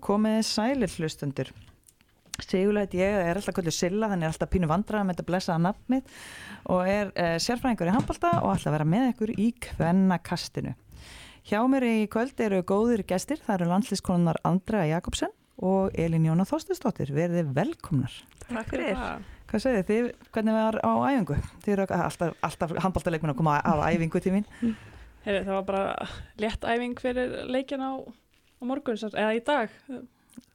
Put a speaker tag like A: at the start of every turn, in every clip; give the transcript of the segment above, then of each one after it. A: komið sælir hlustundur. Sigurleit ég er alltaf kvöldu Silla, hann er alltaf pínu vandrað með þetta blessaða nafnið og er uh, sérfræðingur í handbalta og alltaf vera með ykkur í kvennakastinu. Hjá mér í kvöld eru góðir gestir, það eru landslískonunar Andrea Jakobsen og Elin Jóna Þorstinsdóttir, verðið velkomnar.
B: Takk fyrir.
A: Hvað segir þið, hvernig var á æfingu? Þið eru alltaf, alltaf handbaltaleikmenn að koma á á æfingu til mín.
B: Heyri, það var bara létt æfing fyrir leikin á, á morgun, sem- eða í dag.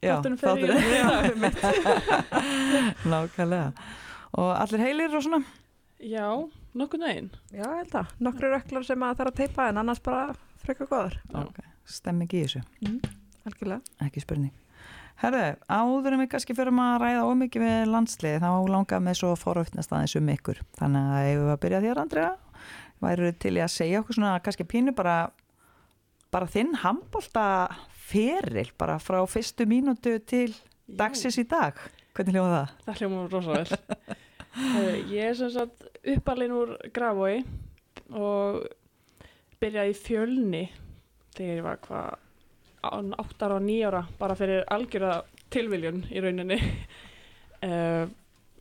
B: Þátturinn fer í-
A: þátturinn.
B: Já, einmitt.
A: Nákvæmlega. Og allir heilir og svona?
B: Já, nokkurn veginn.
C: Já, ég held að. Nokkru röklar sem að þarf að teipa en annars bara frekar góðar.
B: Já.
A: Ok, Stemming í þessu,
C: Algjörlega.
A: ekki spurning. Herðu, áður en við kannski förum að ræða ómikið við landsliði, þá langar með svo foröftnast aðeins um ykkur. Þannig að ef við að byrja þér, Andrea, væru til í að segja okkur svona kannski pínu bara, bara þinn handbólta feril, bara frá fyrstu mínútu til
B: Já.
A: dagsins í dag. Hvernig hljóða það?
B: Það hljóma rosa vel. Heyri, ég er sem sagt uppalinn úr Grafói og byrjaði í fjölni þegar ég var hvað án- átta ára og nýjára bara fyrir algjöra tilviljun í rauninni. uh,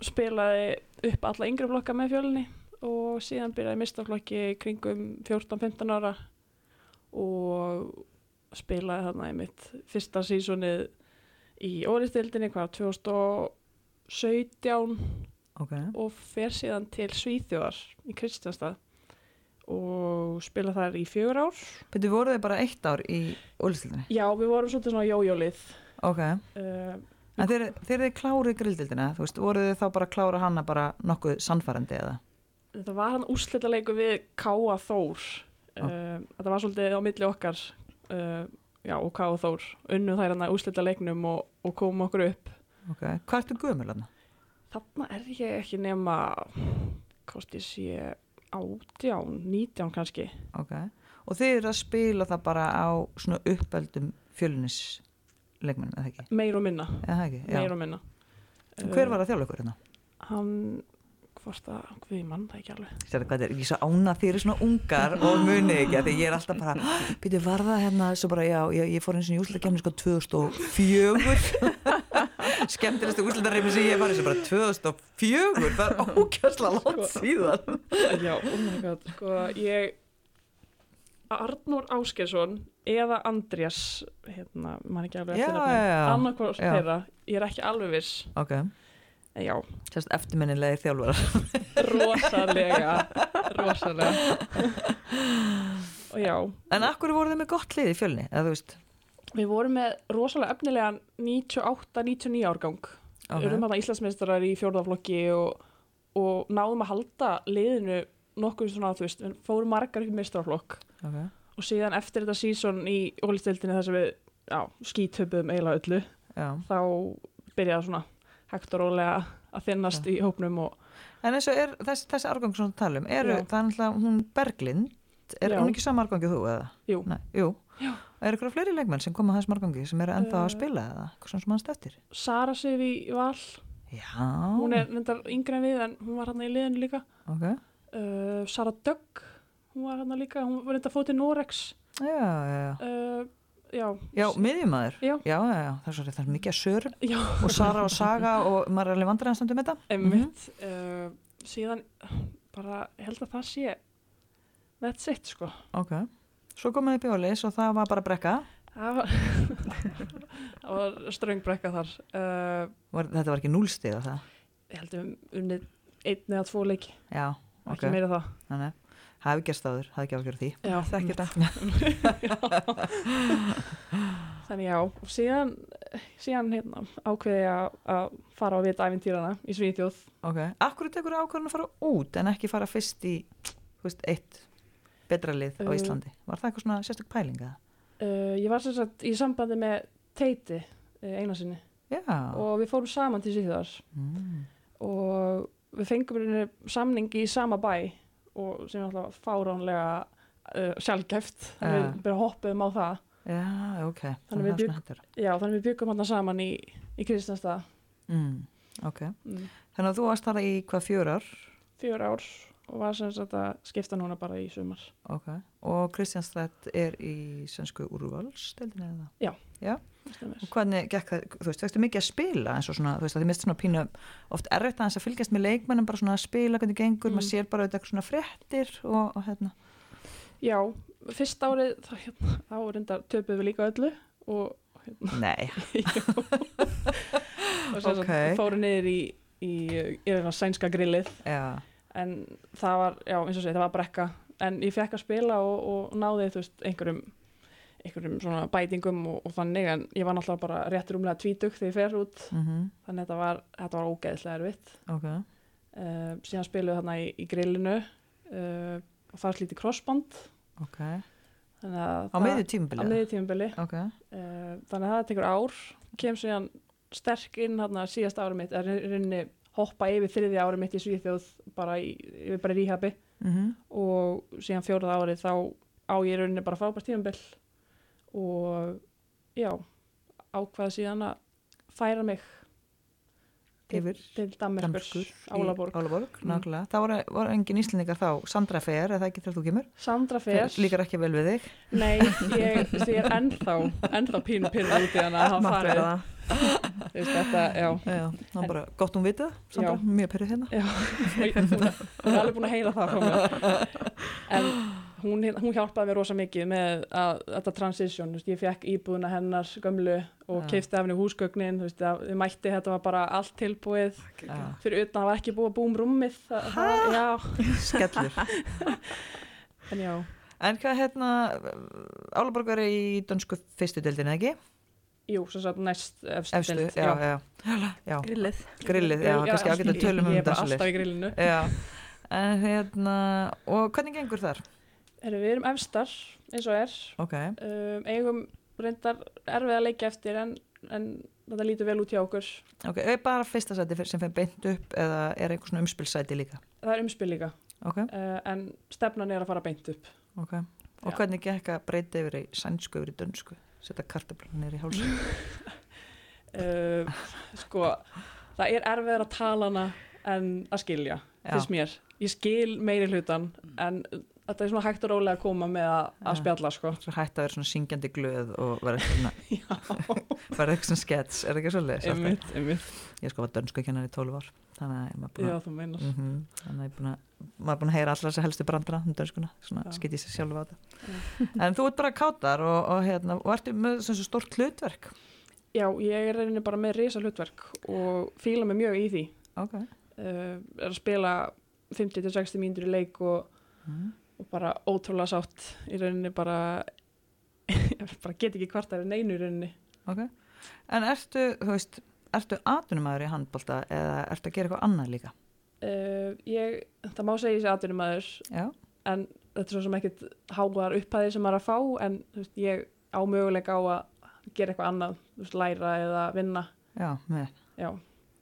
B: spilaði upp alla yngri flokka með fjölni og síðan byrjaði mistaflokki kringum 14-15 ára og spilaði þarna í mitt fyrsta sísonið í óristildinni hvað 2017
A: Ok,
B: og fer síðan til Svíþjóðar í Kristjánstað og spila þar í fjögur ár.
A: betur voruð þið bara eitt ár í úlstildinni?
B: Já, við vorum svolítið svona jójólið.
A: Ok,
B: Uh,
A: en þeir, þeir eru klárið grildildina, þú veist, voruð þið þá bara að klára hana bara nokkuð sannfærandi eða?
B: þetta var hann úrslitaleiku við Káa Þór.
A: Já.
B: Uh, þetta var svolítið á milli okkar uh, já, og Káa Þór. Unnu þær hann að úrslitaleiknum og, og komum okkur upp.
A: Ok, hvað ertu gömul hann?
B: Þarna er ég ekki nema, hvort ég sé, átján, nítján kannski.
A: Ok, og þið eru að spila það bara á svona uppeldum fjölunis leikmennum, eða ekki?
B: Meir og minna,
A: Eða það ekki? Já.
B: meir og minna. eh,
A: Hver var að þjálfa ykkur hérna?
B: hann hvort að, hvað ég mann það ekki alveg
A: Sér hvað þetta er, ég er svo ána þið eru svona ungar og munið ekki, af því ég er alltaf bara, býtu, var það hérna, svo bara, já, ég, ég fór eins og í úslutakefni sko 2004, skemmtilegstu úslutareifin sem ég hef farið, svo bara 2004, það er ókjörsla langt
B: Sko,
A: síðan.
B: já, oh my god sko, ég Arnór Áskesson eða Andrés hérna, mann ekki alveg
A: Já,
B: eftir
A: já, já.
B: annarkvort
A: Já.
B: þeirra, ég er ekki alveg viss
A: Ok,
B: en já,
A: sérst eftirminnilegir þjálfarar.
B: rosalega rosalega og já,
A: En akkur voru þið með gott lið í fjölni, eða þú veist?
B: við vorum með rosalega efnilegan 98-99 árgang
A: Ok.
B: okay. erum þarna Íslandsmeistarar í fjórðaflokki og, og náðum að halda liðinu nokkuð svona, þú veist, við fórum margar upp í meistaraflokk
A: Ok.
B: og síðan eftir þetta sísón í ólistildinni þar sem við, já, skítöpum eiginlega öllu,
A: Já.
B: þá byrjaði svona hægt og rólega að þinnast í hópnum og
A: En eins og er, þess, þessi árgang sem við talum, um, eru,
B: Já.
A: það er náttúrulega hún Berglind, er
B: Já.
A: hún ekki sama árgangi og þú eða?
B: jú,
A: Nei, jú.
B: Já.
A: Er ykkur fleiri leikmenn sem koma að þessum árgangi sem eru ennþá að
B: Eh.
A: spila eða? Hvað svona sem hann steftir?
B: Sara Sif í Val
A: Já.
B: hún er nefndar yngre en við en hún var hann í liðinu líka
A: Ok.
B: uh, Sara Dögg, hún var hann líka hún var nefndar fótið Norex
A: Já, já, já.
B: uh, já,
A: Já, miðjumæður.
B: Já.
A: Já, já, já. Það er svo rétt, það er mikið að sörum
B: já,
A: og Sara og Saga og maður er alveg vandræðan stundum með þetta. Mhm.
B: Einmitt, uh, síðan bara ég held að það sé that's it sko
A: Ok. Svo komaði Bjólis og það var bara brekka.
B: það var, það var ströngbrekka þar uh,
A: Var, þetta var ekki núlstíða það.
B: ég held um unnið einn eða tvo leiki
A: Já, ok.
B: ekki meira það
A: Þannig, hafi gerst áður, hafi ekki ágjörð því.
B: já,
C: Þekkir það.
B: þannig já, og síðan síðan hérna ákveði ég að- að fara á vita æfintýrana í Svíþjóð
A: Ok, akkur tekur ákvörðun að fara út en ekki fara fyrst í þú veist, eitt betra lið á
B: Uh.
A: Íslandi Var það eitthvað svona sérstök pælinga?
B: uh, ég var sem sagt í sambandi með Teiti uh, einasinni
A: Já
B: og við fórum saman til Svíþjóðar
A: mm.
B: og við fengum rauninni samningi í sama bæ og sem er alltaf fáránlega uh, sjálfgæft þannig
A: Ja.
B: við bara hoppuðum á það
A: Já, ok
B: Þannig við
A: það er svona hendur
B: já, þannig við byggum hann saman í, í Kristjánstað
A: mm. Ok,
B: mm.
A: þannig að þú varst þar í hvað fjör ár
B: fjör ár og var sem sagt að skipta núna bara í sumar
A: Ok, og Kristjánstrætt er í svensku úrvalsdeldinu eða?
B: Já.
A: Já, Og hvernig gekk það, þú veist, vextu mikið að spila eins og svona, þú veist, að þið mist svona pínu oft erfitt aðeins að fylgjast með leikmennum bara svona að spila hvernig gengur,
B: Mm.
A: maður sér bara auðvitað eitthvað svona fréttir og, og hérna
B: Já, fyrst árið þá hérna, þá reyndar töpuðum við líka öllu og,
A: Nei,
B: og sem sagt
A: Ókei.
B: fóru niður í, í, í, í sænska grillið
A: já,
B: en það var, já, eins og segi, það var brekka en ég fekk að spila og, og náði þú veist, einhverjum einhverjum svona bætingum og, og þannig en ég var náttúrulega bara rétt rúmlega tvítug þegar ég fer út
A: mhm,
B: þannig að þetta var, þetta var ógeðslega erfitt
A: ok
B: uh, síðan spiluðu þarna í, í grillinu uh, og það var slítið crossband
A: Ok, á
B: þannig að
A: miðju
B: á
A: tímabilið
B: miðju tímabili uh,
A: Ok,
B: þannig að það tekur ár kem síðan sterk inn þarna síðast ára mitt er rauninni hoppa yfir þriðja ára mitt í Svíþjóð bara í, yfir bara í ríhabi
A: mhm,
B: og síðan fjórað árið þá á ég í rauninni bara frábært tímabil og já ákvaða síðan að færa mig
A: yfir
B: til Danmerkur,
A: Danmerkur í
B: Álaborg
A: Álaborg,
B: Mm.
A: nákvæmlega, það voru, voru engin íslendingar þá, Sandra Fer, er það ekki þegar þú kemur?
B: Sandra Fer
A: Fer Líkar ekki vel við þig
B: Nei, ég, þú veist, ég er ennþá ennþá pínu pyrra út í hana að hafa
C: Máttu
B: farið
C: vera það.
B: Þú veist, þetta, já
A: Já, það var bara gott hún vitað, Sandra,
B: Já.
A: mjög perrið hérna
B: Já, ég er búin að- hún er alveg búin að heyra það frá mér en hún, hún hjálpaði mér rosa mikið með að, þetta transition, þú veist, ég fekk íbúðuna hennar gömlu
A: Já.
B: og keifti af henni húsgögnin þú veist, að, ég mætti, þetta var bara allt tilbúið
A: Já.
B: fyrir utan að það var ekki búið að búum rúmið það, það, já,
A: Skellur
B: en já
A: En hvað hérna, Álaborg er í dönsku fyrstu deildinu, ekki?
B: jú, sem sagt næst efstu,
A: Efstu,
B: deild,
A: já, já, já.
C: Grillið.
A: Grillið, já, kannski ágætt að
B: ég-
A: tölum um
B: ég er
A: þetta
B: bara
A: svoleiðis.
B: alltaf í grillinu
A: Já, en hérna, og hvernig gengur þar?
B: Heyrðu, við erum efstar eins og er
A: Ok,
B: um, eigum reyndar erfið að leikja eftir en, en þetta lítur vel út hjá okkur
A: ok, er bara fyrsta sæti fyrir- sem fyrir beint upp eða er einhver svona umspilsæti líka?
B: það er umspil líka
A: Ok,
B: uh, en stefnan er að fara beint upp
A: ok. Og
B: Já.
A: hvernig gekk að breyta yfir í sænsku yfir í dönsku? Setta kartablanir í hálsum.
B: uh, sko það er erfið að tala hana en að skilja
A: Já,
B: finnst mér, ég skil meiri hlutan en þetta er svona hægt og rólega að koma með að, að
A: Já.
B: spjalla sko
A: svo hætti að vera svona syngjandi glöð og vera eitthvað svona,
B: já,
A: vera eitthvað svona skets, er það ekki svo leiðis?
B: einmitt, einmitt
A: Ég sko var dönsku kennar í 12 ár, þannig að ég maður búin að
B: já, þú meinar
A: mm þannig að ég er búin að maður er búin að heyra allar þessar helstu brandara um dönskuna, svona
B: Já.
A: skytti sér sjálf á þetta en þú ert bara kátar og, og, hérna, og ertu með svona svo stórt hlutverk
B: já, ég er reyni bara með risa hlutverk og fíla mig mjög í því
A: ok
B: uh, er að spila 50-60 mínútur í leik og
A: mm.
B: og bara ótrúlega sátt í rauninni bara ég bara get ekki kvartar en einu í rauninni
A: ok, en ertu þú veist, ertu atvinnumæður í handbolta eða ertu að gera eitthvað annað líka
B: uh, ég, það má segja þessi atvinnum maður
A: já,
B: en þetta er svo sem ekkit háar upphæðir sem maður er að fá en þú veist, ég á möguleika á að gera eitthvað annað, þú veist, læra eða vinna
A: já, með
B: já,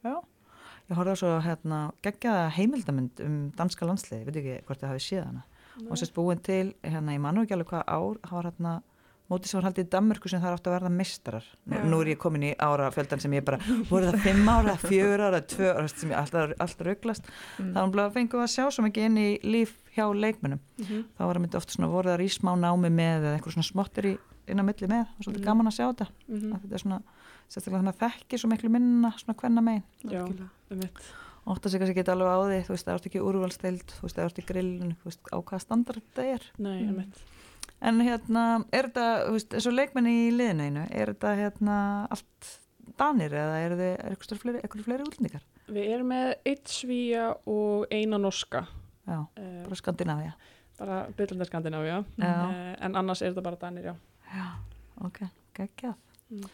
A: ég horfði á svo hérna, geggjaða heimildamund um danska landsliði, veit ekki hvort þið hafi séð hana og sérst búin til, hérna, ég man nú ekki alveg hvað ár það var hérna, mótið sem var haldið í Danmörku sem það átti að verða mistrar nú,
C: Já.
A: nú er ég komin í árafjöldan sem ég bara voru það fimm ára, fjör ára, tvö ára sem ég alltaf, alltaf rugglast þá
C: Mm.
A: erum við að fengum við að sjá svo mikið inn í líf hjá leikmönnum
B: Mhm.
A: þá var það myndi oft svona voru það í smá námi með eða einhver svona smottir í, inn á milli með og svolítið
B: Mm.
A: gaman að sjá þetta
B: Mhm.
A: að þetta er svona, sérstaklega þannig að þekki svo miklu minna svona hvenna megin
B: Já.
C: Algjörlega.
B: Einmitt.
A: ótt að sig kannski geta alveg á því þú veist, það er ekki úrvalstild, þú veist, það er ekki grillin þú veist, á hvaða standard þetta er
B: Nei, um
C: Mm.
B: einmitt.
A: En hérna, er þetta, þú veist, eins og leikmenni í liðinu einu, er þetta hérna allt danir eða er þið eitthvað fleiri, eitthvað fleiri útlendingar?
B: við erum með eitt svíja og eina norska
A: Já,
B: uh,
A: bara Skandinavia.
B: bara byrjandarskandina já,
A: Já,
B: Uh, en annars er þetta bara danir já.
A: já, ok, geggjað.
B: Mm.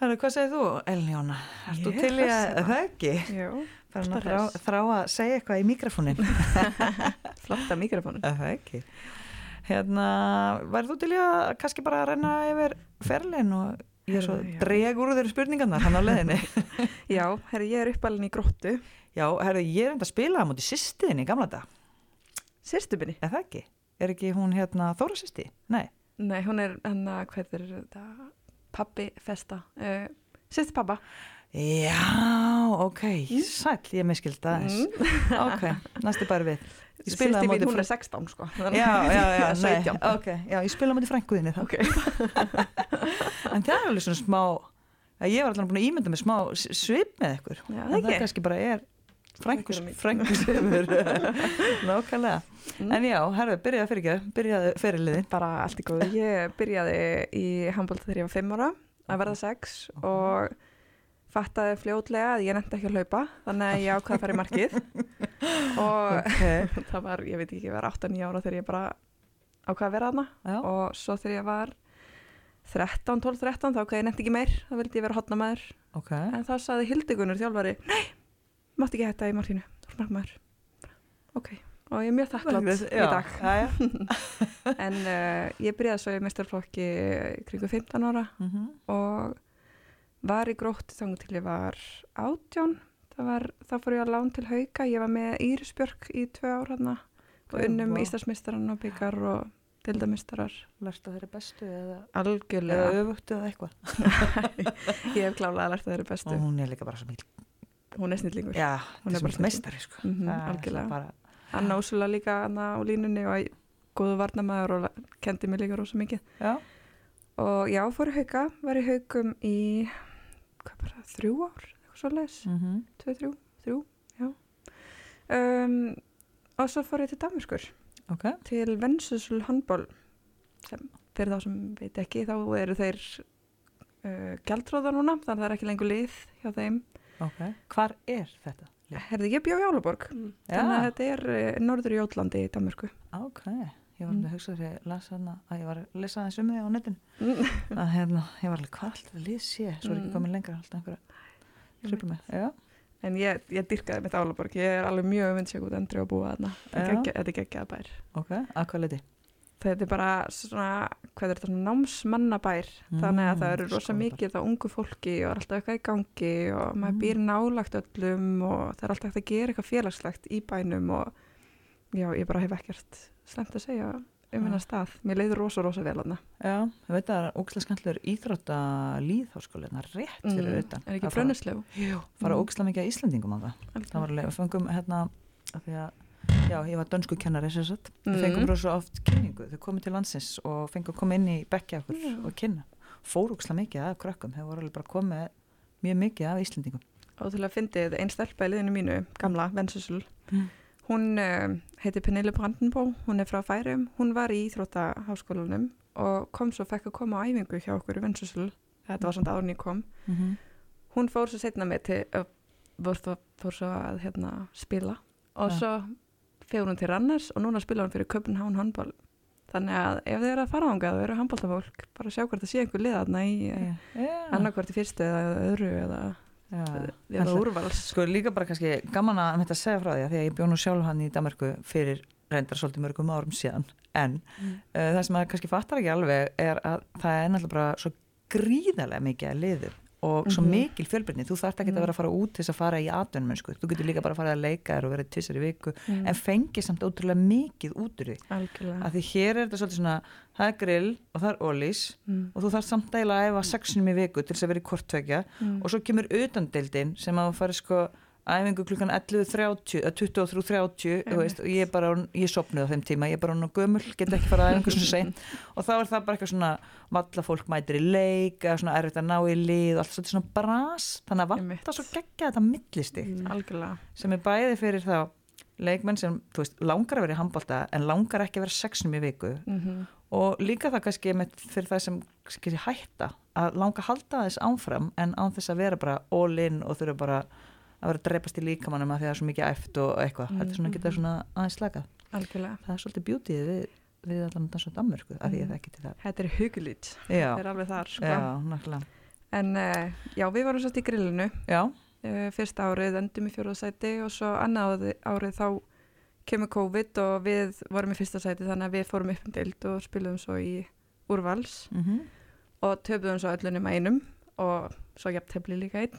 A: Herra, hvað segir þú, Elnjóna? Erst þú
C: Ég
A: til í
C: er
A: að
C: hressa.
A: það ekki?
C: Jú,
A: Farin að
C: Alltaf
A: þrá,
C: hress.
A: þrá að segja eitthvað í mikrofónin?
C: flotta mikrofónu.
A: það ekki. Hérna, værið þú til í að kannski bara renna yfir ferlinn og ég er svo
C: Heyrðu, já.
A: dreg úr þeirri spurningarnar hann á leiðinni?
C: Já, herri, ég er uppalinn í gróttu.
A: já, herru, ég er enda að spila á móti sýstiðin í gamla dag.
C: Sýrstubinni?
A: Er það ekki? Er ekki hún hérna Þóra sýsti? Nei.
C: Nei, hún er hann að, hvað er þetta? Pappi festa. Uh, Sýrstu pappa.
A: Já, ok, sæll, ég miskildi aðeins.
C: Mm.
A: Ok, næstu bara við. Ég spilaði á
C: Systir mín,
A: móti
C: hún
A: frá-
C: er 16 sko þannig
A: já, já, já,
C: að
A: nei,
C: 17
A: ok, já, ég spila með því frænguðinni þá
C: Ok.
A: en það er alveg svona smá að ég var alltaf búin að ímynda með smá s- svip með ykkur
C: Já,
A: en það
C: ekki.
A: kannski bara er frængus,
C: Frænkur mín.
A: frængus nákvæmlega
C: Mm.
A: en já, herðu, byrjaði fyrir ekki byrjaði fyrirliðin
C: bara allt í góðu sko. ég byrjaði í handbólta þegar ég var 5 ára að verða 6 og fattaði fljótlega að ég nefndi ekki að hlaupa þannig að ég ákvaði að fara í markið og
A: okay.
C: það var, ég veit ekki, ég var 8-9 ára þegar ég bara ákvaði að vera þarna
A: já,
C: og svo þegar ég var 13, 12, 13 þá ákvaði ég nefndi ekki meir þá vildi ég vera hotnamaður
A: ok
C: en þá saði Hildigunnur þjálfari nei, mátt ekki hætta í markinu þú er markmaður ok, og ég er mjög þakklátt í
A: Já,
C: dag
A: já, já.
C: en uh, ég byrjaði svo í mestarflokki kringu 15 ára
A: Mhm.
C: og var í grótt þangu til ég var 18 það var, þá fór ég að lán til hauka ég var með Írisbjörk í tvö ár hana og
A: Ok,
C: unnum
A: vá.
C: Íslandsmeistarann og byggar og dildamistarar
A: lært að þeirra bestu eða, eða
C: algjörlega,
A: öfugt eða eitthvað
C: ég hef klálega lært að þeirra bestu
A: og hún er líka bara svo mikil
C: hún er snillingur
A: já, hún
C: Hún er
A: er
C: bara
A: bara meistari sko.
C: Mhm,
A: Það er
C: algjörlega.
A: bara-
C: Anna Úsula líka Anna á línunni og góðu varnamaður og la- kendi mig líka rosa mikið
A: já,
C: og já, fór í hauka, var í haukum í hvað bara, þrjú ár, eitthvað svo leis
A: mhm.
C: tvö, þrjú, þrjú, já um, og svo fór ég til Damerskur
A: ok
C: til Vensusul handból sem fyrir þá sem veit ekki þá eru þeir uh, gjaldróða núna, þannig að það er ekki lengur lið hjá þeim.
A: ok, hvar er þetta? lið?
C: Herði, ég bjó í Álaborg
B: Mm.
C: þannig að
A: Já,
C: þetta er uh, norður í Jótlandi í Damersku
A: ok ég var alveg að hugsa þegar ég las hana að ég var að lesa þess um þig á netinu
C: mm.
A: að hérna, ég var alveg hvað alltaf lið sé svo er ekki
C: Mm.
A: komin lengra alltaf einhverja hrifur mig, já,
C: en ég, ég dyrkaði mitt Álaborg ég er alveg mjög vindsjög út endri að búa þarna Þetta er
A: Já.
C: geggja- þetta er geggjað bær
A: ok, að hvað leiti
C: þetta er bara svona, hvað er þetta, svona námsmannabær þannig að það eru
A: Mm,
C: rosa
A: skoðabær.
C: mikið á ungu fólki og er alltaf eitthvað í gangi og maður
A: Mm.
C: býr nálagt öllum og það er alltaf hægt að gera eitthvað félagslegt í bænum og já, ég bara hef ekkert slemt að segja um hennar stað mér leiður rosa, rosa vel hann
A: já, ég veit að það er ógæslega skemmtilegur íþrótta líðháskóli, það er hérna, rétt fyrir utan
C: Mm, er ekki
A: Að fara-
C: brönnislegu
A: Jú, fara
C: Mm.
A: ógæslega mikið að Íslendingum á það það var alveg, við fengum hérna af því að, já, ég var dönsku kennari sér satt, við fengum
C: Mm.
A: rosa oft kynningu, þau komið til landsins og fengum að koma inn í bekkja okkur
C: Já.
A: og kynna fórúkslega mikið af krökkum, þau voru alveg bara komið mjög mikið af Íslendingum
C: og til að fyndið einn stelpa í liðinu mínu gamla, Vensusul
A: Mm.
C: hún uh, heiti Pernille Brandenbó hún er frá Færum, hún var í Íþróttaháskólanum og kom svo fekk að koma á æfingu hjá okkur í Vensusul þetta var samt árun ég kom
A: mm -hmm.
C: hún fór svo setna með til uh, fór, fór, fór svo að hérna, spila og
A: Ja.
C: svo fegur hún til Ranners og núna spila hún fyrir Köpenhán handball þannig að ef þið eru að fara ángað og eru handballtafólk bara sjá hvort það sé einhver liðarna í yeah.
A: yeah.
C: annarkvort í fyrstu eða öðru eða,
A: yeah.
C: eða
A: Ætla-
C: úrvals
A: Sko líka bara kannski gaman að um þetta segja frá því að því að ég bjó nú sjálf hann í Danmarku fyrir reyndar svolítið mörgum árum síðan en mm.
B: Mm.
A: það sem maður kannski fattar ekki alveg er að það er náttúrulega bara svo gríðarlega mikið að liðum og svo
C: Mhm. Mm.
A: mikil fjölbyrni, þú þarft ekki að vera að fara út til þess að fara í atvinnum, sko. þú getur líka bara að fara að leika þér og vera tvisar í viku, en fengi samt ótrúlega mikið út úr því,
C: Mm, algjörlega
A: af því hér er þetta svolítið svona, það er grill og það er ólís
C: Mm,
A: og þú þarft samt dæla að æfa sexinum í viku til þess að vera í kortvekja
C: mm.
A: og svo kemur utandeildin sem að fara sko æfingu klukkan 11.30 eða 23.30 þú veist, og ég er bara, orðin- ég sopnuði á þeim tíma ég er bara nú gömul, get ekki fara að æfingu svona seint og þá er það bara eitthvað svona valla fólk mætir í leik, eða svona erfitt að ná í lið og allt svolítið svona bras þannig að
C: Einmitt. Mm.
A: vanta svo geggja þetta millistig
B: Mm.
C: algjörlega
A: sem er bæði fyrir þá leikmenn sem, þú veist, langar að vera í handbólta en langar ekki að vera sexnum í viku
C: Mhm.
A: og líka það kannski einmitt fyrir það sem kannski hætta að langa að halda þess ánfram en án þess að vera bara all in og þurfa bara að vera að dreipast í líkamannum að því að það er svo mikið æft og eitthvað þetta er svona að
C: Mhm.
A: geta svona aðeins slakað
C: algjörlega
A: það er svolítið bjútið við, við allan dans og dammurku að því að
C: Mhm.
A: það ekki til það
C: þetta er hugulít,
A: já,
C: þetta er alveg þar sko.
A: já, nákvæmlega
C: en uh, já, við varum svolítið í grillinu
A: já,
C: uh, fyrsta árið endum í fjóruðsæti og svo annað ári- árið þá kemur COVID og við vorum í fyrsta sæti þannig að við fórum upp um deild og spilum svo í úrvals
A: mm
C: og töpuðum svo öllunum að einum og svo jafntefli líka einn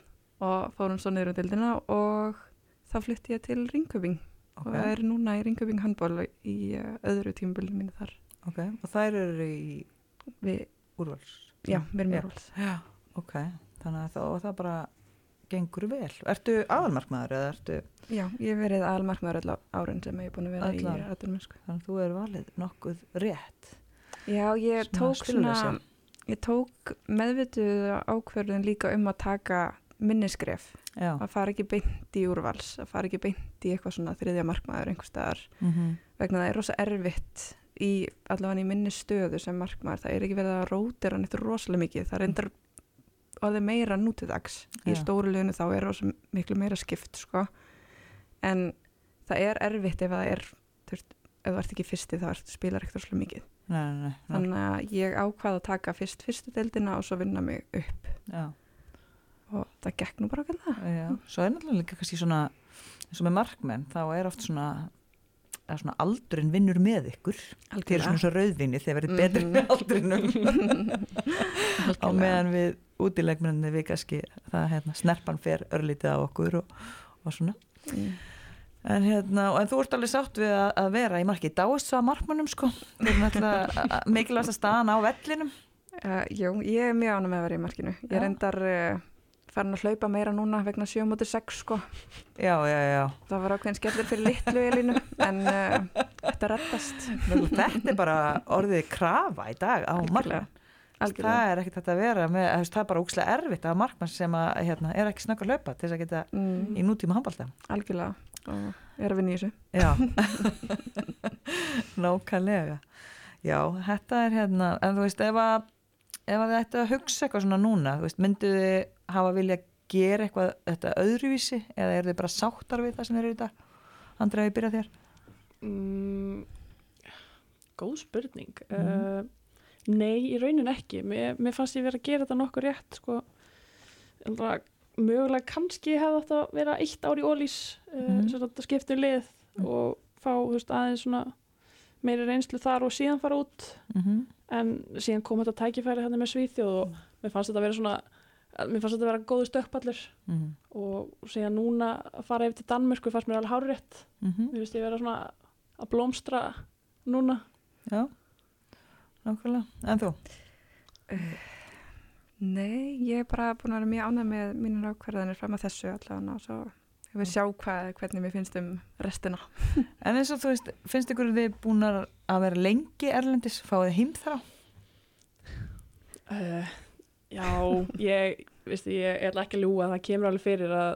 C: og fórum svo niður um deildina og þá flytti ég til Ringköping og
A: ok,
C: er núna í Ringköping handból í eh, öðru tímabölinu mínu þar
A: ok og þær eru í
C: við,
A: úrvals
C: já, við erum í
A: Já.
C: úrvals
A: ok, þannig að það, og það bara gengur vel. Ertu aðalmarkmaður eða ertu,
C: Já, ég hef verið aðalmarkmaður öll á- árin sem ég er búin að vera
A: Öll
C: í
A: árin.
C: atvinnumennsku.
A: þannig að þú er valið nokkuð rétt.
C: Já, ég
A: Svona
C: tók svona,
A: stiluleysi.
C: ég tók meðvituð ákverðun líka um að taka minniskref,
A: Já.
C: að fara ekki beint í úrvals, að fara ekki beint í eitthvað svona þriðja markmaður einhver staðar
A: Mm -hmm.
C: vegna það er rosa erfitt í allavega í minni stöðu sem markmaður það er ekki verið að rótira neitt rosalega mikið það reyndar orðið meira nútidags í
A: Já.
C: stóru liðinu þá er rosa miklu meira skipt sko. en það er erfitt ef það er þurft, ef það ert ekki fyrsti þá ertu spilar ekkert rosalega mikið
A: Nei, nei, nei. nei.
C: þannig að ég ákvað að taka fyrst fyrstu deildina og svo vinna mig upp
A: Já.
C: og það gekk nú bara okkur það
A: Já, svo er náttúrulega líka kannski svona eins og með markmenn, þá er oft svona að svona aldurinn vinnur með ykkur þeir eru svona svo rauðvinni þegar verið betri
C: Mhm.
A: með aldrinum á
C: Algjörlega.
A: meðan við útilegmenninni við kannski það hérna, snerpan fer örlítið af okkur og, og svona
C: Mm.
A: en, hérna, og en þú ert alveg sátt við að, að vera í marki dáist svo að markmannum sko þeir eru náttúrulega mikilvægast að staðan á vellinum
C: Uh, jú, ég er mjög ánum með að vera í markinu. Ég
A: Já.
C: er endar uh, farin að hlaupa meira núna vegna 7 mútið 6 sko.
A: já, já, já,
C: Það var ákveðin skellur fyrir litlu elinu en uh, þetta rettast.
A: Nú, þetta er bara orðið krafa í dag á markmann
C: Algjörlega.
A: Það er ekkert þetta að vera með, þú veist, það er bara úkslega erfitt að hafa markmann sem að, hérna, er ekki snögg að laupa til þess að geta
C: Mm,
A: í nútíma handbalta.
C: algjörlega. Og ég er að vinna í þessu.
A: Já, nákvæmlega. Já, þetta er hérna, en þú veist, ef að, ef að þið ættu að hugsa eitthvað svona núna, þú veist, myndu þið hafa vilja gera eitthvað þetta öðruvísi eða eru þið bara sáttar við það sem þið eru í dag? Andrið, ég byrja á þér.
B: Mm, góð spurning.
A: Mhm.
B: Uh, nei, í raunin ekki. Mér, mér fannst ég vera að gera þetta nokkur rétt. Sko. En það- Mögulega kannski hefði þetta að vera eitt ár í ólís, uh,
A: Mhm.
B: sem þetta skiptir um lið
A: Mhm.
B: og fá þú veist, aðeins svona meiri reynslu þar og síðan fara út.
A: Mm -hmm.
B: En síðan kom þetta tækifæri hérna með Svíþjóð og
A: Mhm.
B: mér fannst þetta að vera svona, mér fannst þetta að vera góðu stökkpallur
A: Mm
B: og síðan núna að fara yfir til Danmörku fannst mér alveg hárétt
A: mhm.
B: Mér finnst ég vera svona að blómstra núna.
A: Já, nákvæmlega. En þú?
C: Eh, Nei, ég er bara búin að vera mjög ánum með mínir ákverðanir fram að þessu allavega og svo ég vil sjá hvað, hvernig mér finnst um restina.
A: En eins og þú veist, finnst ykkur þið búin að vera lengi erlendis, fáið heimþrá?
B: Uh, já, ég, veistu, ég, ég ætla ekki að ljúa, það kemur alveg fyrir að,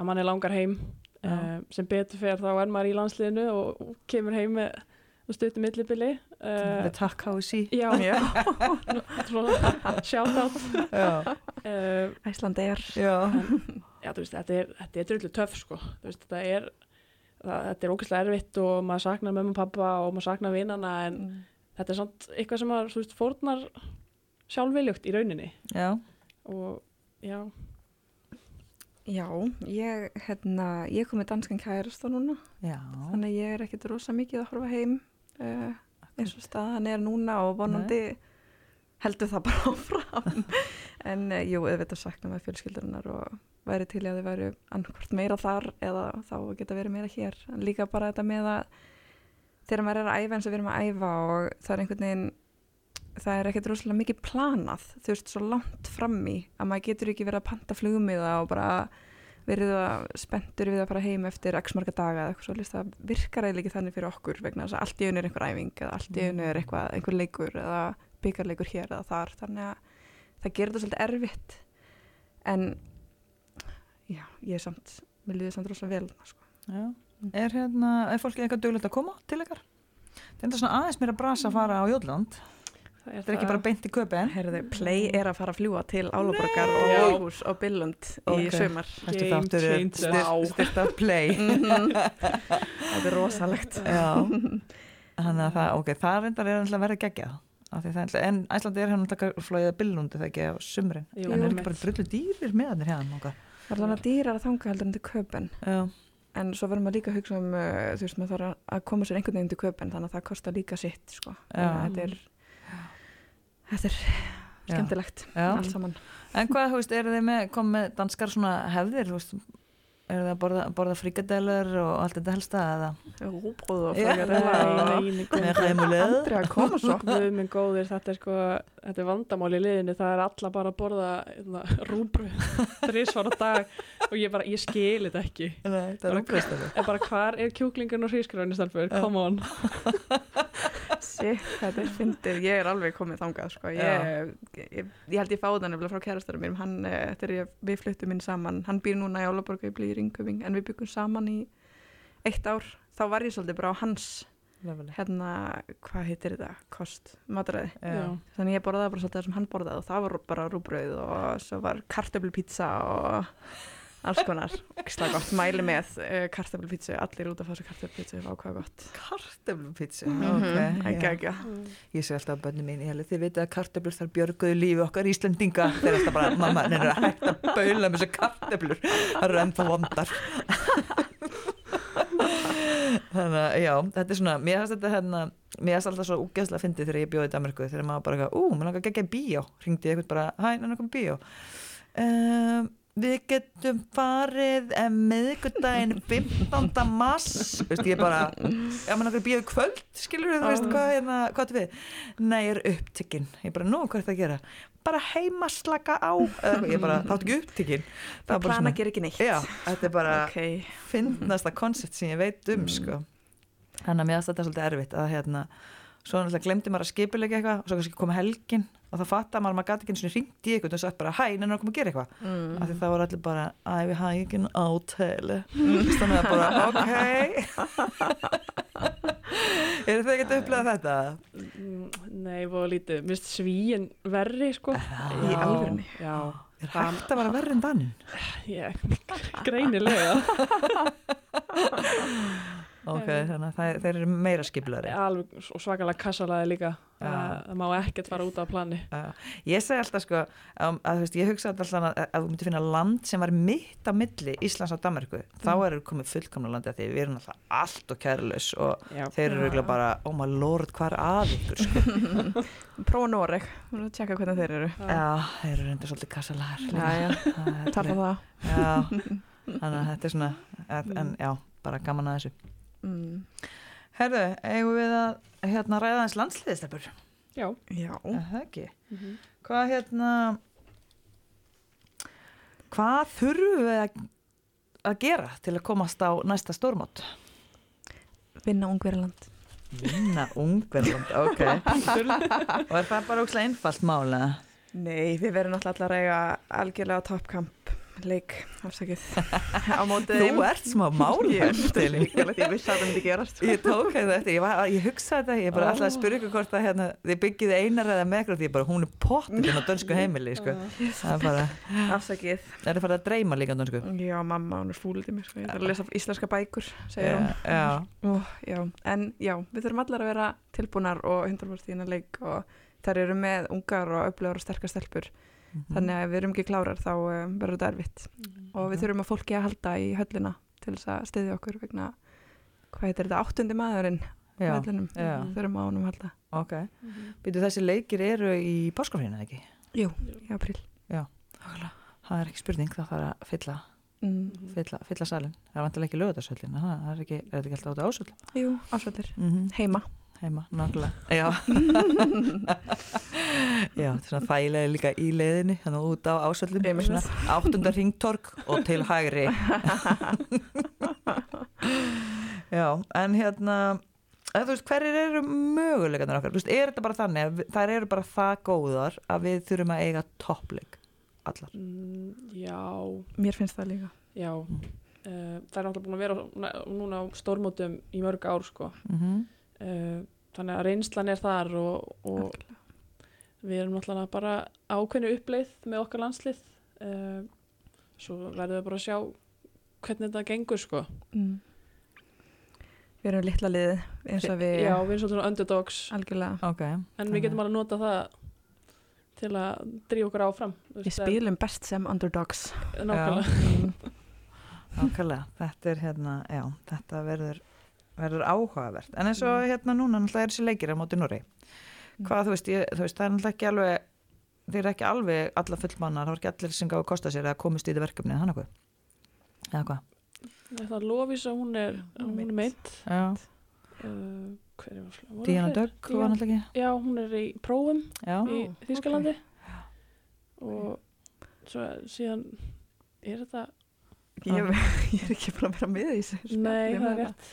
B: að mann er langar heim.
A: Já.
B: Uh, sem betur fer þá er maður í landsliðinu og, og kemur heim með og stuttum millibili.
A: The
B: Uh,
A: Tuck House í
B: já,
C: Já.
B: svona shout out.
A: Já,
B: Uh,
C: Æsland er
A: já,
B: já, þú veist, þetta er, þetta er drullu töff, sko. Þú veist, þetta er, það, þetta er ógeðslega erfitt og maður saknar mömmu og pappa og maður saknar vinnana en
C: Mm.
B: þetta er samt eitthvað sem maður, þú veist, fórnar sjálfviljugt í rauninni
A: já.
B: og já,
C: Já, ég, hérna, ég kom með danskan kærasta núna
A: já.
C: þannig að ég er ekkert rosa mikið að horfa heim uh, eins og staðan er núna og vonandi heldur það bara áfram en uh, jú, auðvitað sakna með fjölskyldurinnar og væri til í að þið væri annarkvort meira þar eða þá geta verið meira hér en líka bara þetta með að þegar maður er að æfa eins og við erum að æfa og það er einhvern veginn það er ekkert rosalega mikið planað þú veist, svo langt fram í að maður getur ekki verið að panta flugumiða og bara verið að spenntur við að fara heim eftir x marga daga eða eitthvað svolítið það virkar eiginlega ekki þannig fyrir okkur vegna þess að allt í einu er einhver æfing eða allt í einu er eitthvað, einhver leikur eða byggarleikur hér eða þar þannig að það gerir þetta svolítið erfitt en já, ég er samt, mér líður samt rosa vel þarna, sko.
A: já. Er hérna, er fólkið eitthvað duglegt að koma til ykkar? Það er enda svona aðeins mér að brasa að fara á Jótland.
B: það er,
A: Þetta er ekki bara beint í köpinn.
C: Herðu, Play er að fara að fljúa til Álaborgar
B: og
C: Óhús og Billund
A: í sumar. Næstu þáttur er styr- styrt af play.
C: Mhm. þetta er rosalegt
A: Já. Þannig að það, ok, það reyndar er alltaf verið geggjað. Af því það er alltaf- En Æslandi er hérna alltaf flóið að billundu það ekki á sumrin.
B: Jú,
A: en er
B: einmitt.
A: ekki bara drullu dýrir með hannir hérna okkar.
C: Það er alveg dýrar að þanga heldur en til köpen
A: Já,
C: En svo verður maður líka að hugsa um, uh, þú veist, maður þarf að- að koma sér einhvern veginn til köpinn, þannig að það kostar líka sitt, sko.
A: Já.
C: Þannig að Þetta er, þetta er
A: Já.
C: skemmtilegt,
A: já.
C: allt saman.
A: En hvað, þú veist, eru þið með, kom með danskar svona hefðir, þú veist, eru það að borða, borða frikadelur og allt þetta helsta eða
C: rúbrúð og
A: Já.
C: frikadella og-
A: með
B: Nei,
A: hreimuleið
C: Andri að koma svo
B: Guð minn góðir, þetta er sko þetta er vandamál í liðinu, það er alla bara að borða hérna, rúbröð þrísvar á dag og ég bara, ég skil þetta ekki
A: Nei, það er rúbröðstölu
B: en bara hvar er kjúklingun og hrísgröðinu stelpur,
A: Já.
B: come on
C: Sitt, þetta er fyndið, ég er alveg komið þangað sko. ég, ég, ég held ég fáði hann nefnilega frá kærastarum mínum hann, eh, þegar ég, við fluttum inn saman hann býr núna í Álaborg og ég býr í Ringuming en við byggum saman í eitt ár þá var ég svolítið bara á hans hérna, hvað heitir þetta, kost matræði,
B: Já.
C: þannig ég borðaði bara svolítið það sem hann borðaði og það var bara rúbröð og svo var kartöflupizza og alls konar, slag gott mæli með uh, kartöflupizza, allir út að fá svo kartöflupizza, það var hvað gott
A: Kartöflupizza
C: Mhm,
A: ok,
C: ekki,
A: já.
C: ekki,
B: Mm,
A: Ég sé alltaf að bönni mín, ég held þið vitið að kartöflur þar björguðu lífi okkar Íslendinga þeir eru alltaf bara, mamma, þeir eru hægt að baula með þessu kartöflur, það eru ennþá vondar Þannig að, já, þetta er svona mér finnst þetta hérna, mér finnst alltaf svo úgeðslega fyndið þegar ég bjóði í Danmarku, þegar maður bara eitthvað, ú, mér langar að gegja í bíó, ringdi ég eitthvað bara hæ, náttúrulega kom bíó um, Við getum farið eh, miðvikudaginn 15. mars Veistu, ég bara, já, mér langar að bíó í kvöld skilur þú, þú veist, hvað, hérna, hvað áttu við Nei, ég er upptekinn, ég bara, nú, hvað er það að gera bara heima slaka á Eða eitthvað, ég bara, þáttu ekki upptekinn Það var
C: bara
A: bara
C: plana
A: svona-
C: gera ekki neitt
A: Já, þetta er bara
C: okay.
A: finnast það koncept sem ég veit um sko. þannig að mér finnst þetta svolítið erfitt að hérna, svo náttúrulega glemdi maður að skipilega eitthvað og svo kannski kom helgin og þá fatta maður að maður gæti ekki einu sinni ringt í eitthvað og sagt bara hæ, nennar að koma að gera eitthvað
C: mm.
A: af því það voru allir bara, æ, við hæ ekki en átæli þannig að bara, ok eru þið ekki að upplega þetta?
B: Mm, Nei, voða lítið, mist svíin verri sko
A: Já.
C: Í alvörunni?
B: Já,
A: er hægt að vera verri en dannin?
B: ég, greinilega
A: ok, þannig að það- þeir eru meira skipulari
B: alveg og svakalega kassalaði líka
A: Já.
B: það það má ekkert fara út af plani
A: Já. Ég segi alltaf sko um, að þú veist, ég hugsa alltaf að, að þú myndir finna land sem var mitt á milli Íslands og Danmarku, þá
C: Mm.
A: eru komið fullkomna landi að því við erum alltaf allt og kærlaus og
B: Já,
A: þeir eru
C: Já.
A: auðvitað bara, oh my lord, hvað er að ykkur sko.
C: Prófa Noreg, við erum að tjekka hvernig þeir eru
B: Já.
A: Já, þeir eru reynda svolítið kassalagar líka.
C: já,
A: Það er
C: tala um
A: alveg-
C: það
A: Já, þannig að þetta er svona að, en já, bara gaman að þessu
C: mm.
A: Herðu, eigum við að hérna ræða eins landsliðistelpur,
B: Já.
C: Já,
A: er það ekki?
B: Mhm.
A: Hvað hérna Hvað þurfum við að, að gera til að komast á næsta stórmót?
C: vinna Ungverjaland
A: Vinna Ungverland, ok Og er það bara ókslega einfalt mála?
C: Nei, við verðum náttúrulega allar að eiga algjörlega toppkamp leik, afsakið á mótið
A: Þú ert smá mála
C: Ég vissi að það myndi gerast sko.
A: Ég tók þetta eftir, ég, var, ég hugsaði þetta, ég bara
B: Ó.
A: oh. ætlaði að spyrja ykkur hvort að hérna, þið byggið einar eða með ykkur, því ég bara, hún er pottur á dönsku heimili, sko. Það er bara,
C: Afsakið
A: er það farið að dreyma líka á dönsku?
C: Já, mamma, hún er fúlið mér sko. Ég þarf að lesa íslenska bækur, segir hún
A: Já, já.
C: Ó, já, en já, við þurfum allar að vera tilbúnar og 100% í hennar leik og þær eru með ungar og öflugar og sterkar stelpur þannig að við erum ekki klárar þá um, verður þetta erfitt og við þurfum að fólki að halda í höllina til þess að stiðja okkur vegna hvað heitir þetta, áttundi maðurinn á
A: Já,
C: höllinum,
A: já.
C: þurfum á honum að halda
A: ok. Býtu, þessi leikir eru í páskafrínu, eða ekki?
C: Jú, í apríl
A: Það er ekki spurning, það þarf að fylla,
C: mm,
B: Mhm.
A: fylla, fylla salin. Það er vantilega ekki lögðarsöllin, það er ekki, er þetta ekki alltaf út á ásöllin.
C: Jú, ásvöldir,
A: Mm -hmm.
C: heima
A: Heima, nákvæmlega. Já, Já þetta er svona þægilega líka í leiðinni, þannig út á ásöllin.
C: Einmitt.
A: Svona áttunda ringtorg og til hægri. Já, en hérna, eða, þú veist, hverjir eru möguleikarnir okkar? Þú veist, er þetta bara þannig að við- þær eru bara það góðar að við þurfum að eiga toppleik allar?
B: Mm, Já,
C: Mér finnst það líka
B: já Eh, Það er náttúrulega búin að vera á- núna á stórmótum í mörg ár sko
A: Mm
B: Eh, Þannig að reynslan er þar og, og
C: Algjörlega.
B: við erum náttúrulega bara ákveðnu uppleið með okkar landslið Eh, Svo verðum við bara að sjá hvernig þetta gengur sko
C: mm. Við erum litla liðið eins og við
B: Já, við erum svolítið svona underdogs
C: algjörlega
A: Ok,
B: en við getum
A: Þannig.
B: alveg nota það til að drífa okkur áfram
C: Við
B: þú veist, Mm. það er
C: spilum best sem underdogs
B: nákvæmlega
A: Nákvæmlega, þetta er hérna, já, þetta verður, verður áhugavert. En eins og hérna núna náttúrulega er þessi leikir á móti Núri. Hvað þú veist, ég, þú veist, það er náttúrulega ekki alveg, þeir eru ekki alveg alla fullmannar, það er ekki allir sem gáðu að kosta sér að komast í þetta verkefni, þannig hvað? Eða hvað?
B: Það er Lofísa, hún er,
C: hún er
B: hún er meitt.
A: Já,
B: Uh, hver er það?
A: Díana Dögg var
B: Díana-
A: náttúrulega
B: Já, hún er í prófum
A: ekki Já,
B: í
C: Ó,
B: Þýskalandi. Og svo síðan, er þetta?
C: Ég, ég er ekki búin að vera með í þessu
B: Ah. Nei,
C: spjalli
B: það er
C: með
B: rétt.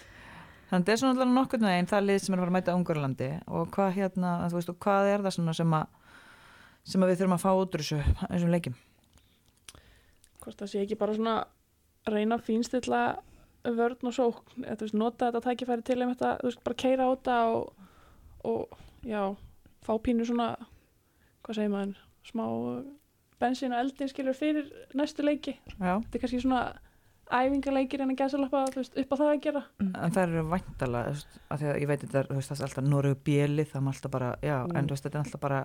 A: þannig þetta er svona allavega nokkurnu einn það lið sem er að fara að mæta Ungurlandi og hvað hérna, þú veist, og hvað er það svona sem að sem að við þurfum að fá út úr þessu þessum leikjum
B: Hvort það sé ekki bara svona reyna að fínstilla vörn og sókn. Eða, þú veist, nota þetta tækifæri til einmitt að, þú veist, bara keira á þetta og, og, já, fá pínu svona, hvað segir maður, smá bensín og eldin skilur fyrir næstu leiki.
A: Já,
B: þetta er kannski svona æfingaleikir en að gæsalappa þú veist, upp á það að gera
A: en það eru væntala af því að ég veit þetta, er, þú veist, það er alltaf Noregu bjeli, það er alltaf bara, já, en
B: Mm.
A: þú veist, þetta er alltaf bara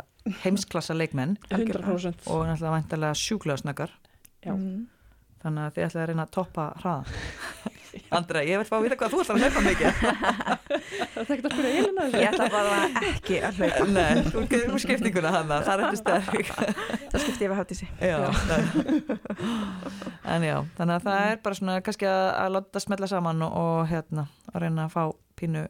A: heimsklassa leikmenn
C: Algjörlega.
B: 100%
A: og náttúrulega væntalega sjúklega snöggar
B: Já.
C: Mhm.
A: þannig að þið ætlaði að reyna að toppa hraða Andra, ég vil fá að vita hvað þú ætlar að hlaupa mikið
B: það er ekkert að spyrja Elina þessu
C: Ég ætla bara ekki að hlaupa
A: Nei, þú getur um skiptinguna hana, það er eftir sterk
C: Það skipti ég við hátísi
A: Já, En já, þannig að það er bara svona kannski að, að láta smetla saman og, og hérna, að reyna að fá pínu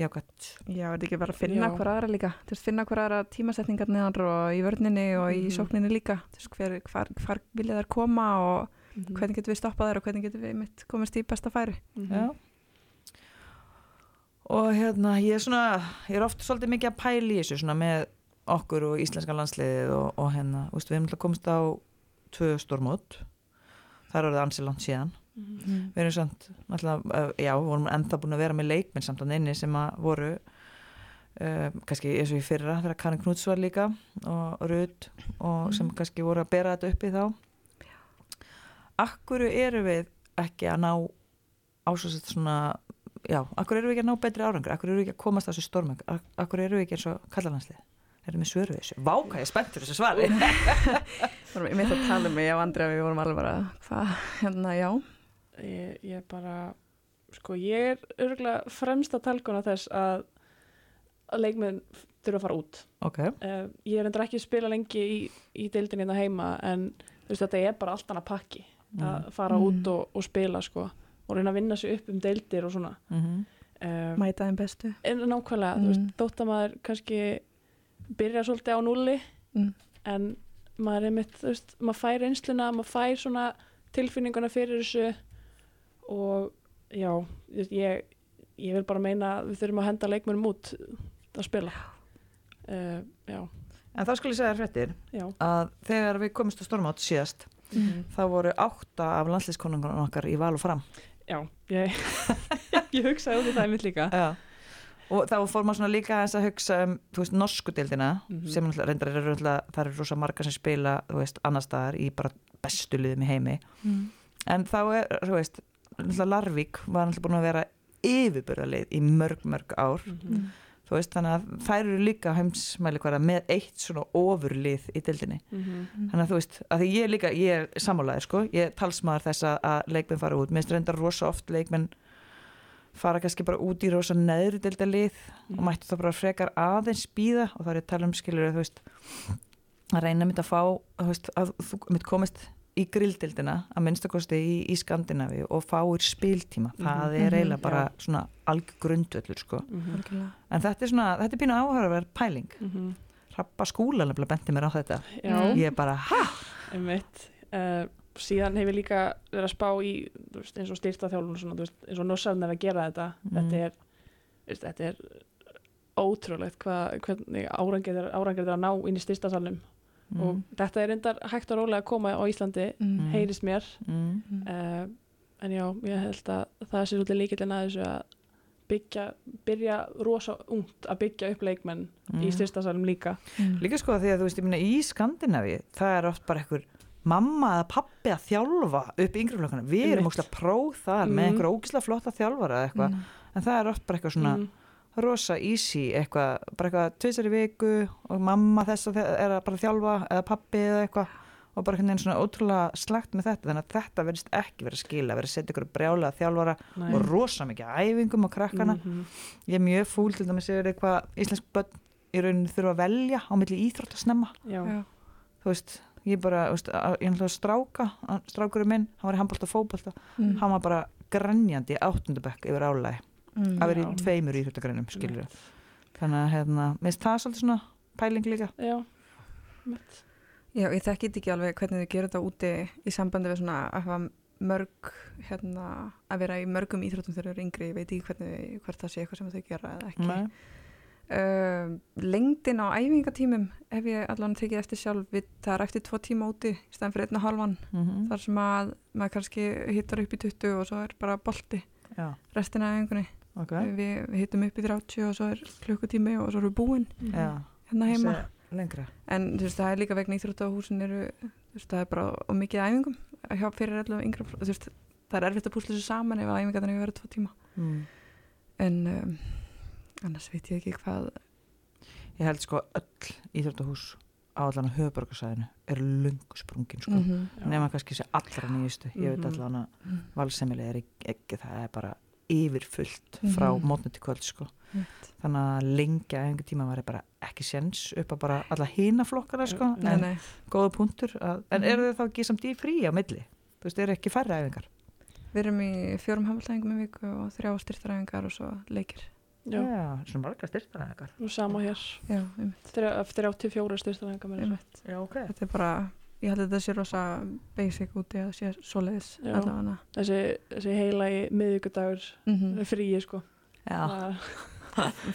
A: jákvætt
C: Já, er þetta ekki bara að finna
B: Já.
C: hver aðra líka Þú veist, finna hver aðra tímasetningarnir og í vörninni og í
B: Mhm.
C: sókninni líka Þú veist, hver, hvar, hvar vilja þær koma og
B: Mhm.
C: hvernig getum við stoppað þær og hvernig getum við mitt komast í besta færi
B: Mhm.
A: Já Og hérna, ég er svona, ég er oft svolítið mikið að pæla í þessu svona með okkur og íslenska landsliðið og, og hérna, þú veist, við hefum alltaf komist á tvö stórmót, þar voruð ansi langt síðan.
B: Mhm.
C: mm.
A: Við erum samt, náttúrulega, eh, já, vorum ennþá búin að vera með leikminn samt á neinni sem að voru, uh, kannski eins og í fyrra, þegar Karin Knúts var líka og Rut og sem
C: Mhm.
A: kannski voru að bera þetta upp í þá. Akkur eru við ekki að ná ásvarsett svona já, akkur eru við ekki að ná betri árangur akkur eru við ekki að komast á þessu stormöng akkur eru við ekki eins og kallalandslið erum við svöru við þessu, váka ég er spennt fyrir þessu svari
C: Varum, Ég mitt að tala um mig, ég og Andri að við vorum alveg bara Hvað, hérna, já
B: ég, ég bara sko ég er örgulega fremsta talkuna þess að, að leikmenn þurfa að fara út
A: ok,
B: uh, ég er endur ekki að spila lengi í, í deildinni hérna heima en þú veist, þetta er bara allt annað pakki
A: mm.
B: að fara
C: Mm.
B: út og, og spila sko og reyna að vinna sig upp um deildir og svona
A: Mhm.
B: uh,
C: Mæta þeim bestu
B: en nákvæmlega, þú veist,
C: Mm.
B: þótt að maður kannski byrja svolítið á núli
C: Mm.
B: en maður er mitt, þú veist, maður fær einsluna maður fær svona tilfinninguna fyrir þessu og já, þú veist, ég ég vil bara meina að við þurfum að henda leikmönum út að spila uh, já,
A: en þá skulle ég segja þér fréttir
B: já
A: að þegar við komist á stormöng síðast
C: mm.
A: þá voru átta af landslískonungunum okkar í val og fram
B: já, ég, ég hugsaði út í það mitt líka
A: já. og þá fór maður svona líka aðeins að hugsa um, þú veist, norsku deildina
B: Mhm.
A: sem náttúrulega- reyndar eru alltaf, það eru rosa margar sem spila, þú veist, annar staðar í bara bestu liðum í heimi
C: Mm.
A: en þá er, þú veist náttúrulega Larvik var náttúrulega búin að vera yfirburðarlið í mörg, mörg ár
C: Mm.
B: Mhm.
A: þú veist, þannig að þær eru líka heimsmæli hverja með eitt svona ofurlið í dildinni,
B: Mhm.
A: þannig að þú veist að því ég er líka, ég er sammálaðir sko ég er talsmaður þess að- að leikmenn fara út mér strendar rosa oft leikmenn fara kannski bara út í rosa neðri dildarlið
B: Mhm. Mm.
A: og mættu þá bara frekar aðeins býða og þá er ég að tala um skilur þú veist, að reyna mitt að fá þú veist, að þú mitt komist í grilldildina að minnstakosti í, í Skandinavi og fáir spiltíma það
C: Mhm.
A: er eiginlega
B: Mhm,
A: bara
B: já.
A: svona algjör grundvöllur sko.
B: Mhm.
C: algjörlega.
A: en þetta er svona, þetta er pínu áhörverð pæling
B: Mhm.
A: Rappa skúla nefnilega benti mér á þetta
B: já,
A: ég er bara, ha?
B: Einmitt. Uh, síðan hefur líka verið að spá í þú veist, eins og styrta þjálfun svona, þú veist, eins og norsarinn er að gera þetta
A: Mm.
B: þetta er, veist, þetta er ótrúlegt hvað, hvernig árangur er, árangur er að ná inn í styrta salnum
A: Mhm.
B: og þetta er reyndar hægt og rólega að koma á Íslandi
C: Mm.
B: heyrist mér
A: mm.
C: Mm.
B: uh, en já, ég held að það sé svolítið líkillin að þessu að byggja, byrja rosa ungt að byggja upp leikmenn
A: Mhm.
B: í styrsta salnum líka
C: Mm.
A: líka sko því að þú veist, ég minna í Skandinavi það er oft bara einhver mamma eða pappi að þjálfa upp í yngri flokkana við erum
B: Einmitt.
A: ógislega próð þar með
B: Mhm.
A: einhver ógislega flotta þjálfara eða eitthvað
C: Mm.
A: en það er oft bara eitthvað svona
B: Mm.
A: rosa easy eitthvað, bara eitthvað tvisar í viku og mamma þess að þe- er að bara þjálfa eða pappi eða eitthvað og bara einhvern veginn svona ótrúlega slagt með þetta þannig að þetta verðist ekki verið að skila verið að setja ykkur brjálega þjálfara
B: Nei.
A: og rosa mikið af æfingum á krakkana
B: Mhm.
A: ég er mjög fúl til dæmis yfir eitthvað íslensk börn í rauninu þurfa að velja á milli íþrótt að snemma
B: já,
C: Já.
A: þú veist, ég bara, þú veist, að- ég ætlaði að stráka að- strákurinn minn, hann var í handbólta og fótbolta hann var bara grenjandi í áttundabökk yfir álægi,
C: mm.
A: að vera í
B: Já.
A: tveimur í hrjóttagrænum, skilur þannig að hérna, minnst það svolítið svona pæling líka
B: já,
C: Já, ég þekki þetta ekki alveg hvernig þau gerir þetta úti í sambandi við svona að hafa mörg, hérna, að vera í mörgum íþróttum þegar þau eru yngri, ég veit ekki hvernig, hvort það sé eitthvað sem þau gera eða ekki.
A: Nei.
C: Uh, lengdin á æfingatímum hef ég allan tekið eftir sjálf, við, það er eftir tvo tíma úti í stæðan fyrir einn og halvan,
A: Mhm.
C: þar sem að maður kannski hittar upp í 20 og svo er bara bolti
A: Já,
C: restina af æfingunni.
A: ok
C: Við, við hittum upp í 30 og svo er klukkutími og svo erum við búin
A: Já,
C: hérna heima.
A: þessi lengra
C: En þú veist, það er líka vegna íþróttahúsin eru, þú veist, það er bara og mikið af æfingum hjá fyrir allavega yngra, þú veist, það er erfitt að púsla þessu saman ef æfingarnir hefur verið tvo tíma.
A: mm.
C: En um, annars veit ég ekki hvað,
A: Ég held sko öll íþjóttahús á allan höfuborgarsæðinu er lungu sprungin sko.
C: mm
A: mm nema kannski þessi allra nýjustu ég veit
B: Mhm.
A: allan að valsemileg er ekki- ekki það er bara yfirfullt frá
C: Mhm.
A: mótni til kvöld sko.
C: Rétt.
A: þannig að lengja einhver tíma var bara ekki séns upp að bara alla hina flokkana sko.
C: nei,
A: en
C: nei,
A: góða punktur að, en
C: Mhm.
A: eru þau þá ekki samt í frí á milli þú veist, eru ekki færri æfingar
C: við erum í fjórum hamaldæfingum í viku og þrjá styrtaræfingar og svo leikir.
B: já,
A: svona marga styrtar æfingar
B: og sama hér
C: Já, einmitt,
B: Þrjá- eftir 84 styrstanæðingar með
C: einmitt.
A: Já, okay.
C: Þetta er bara, ég held að þetta sé rosa basic úti að sé svoleiðis
B: Já.
C: allavega.
B: þessi, þessi heila í miðvíkudagur
C: Mm
B: fríi sko
A: Já,
B: Það-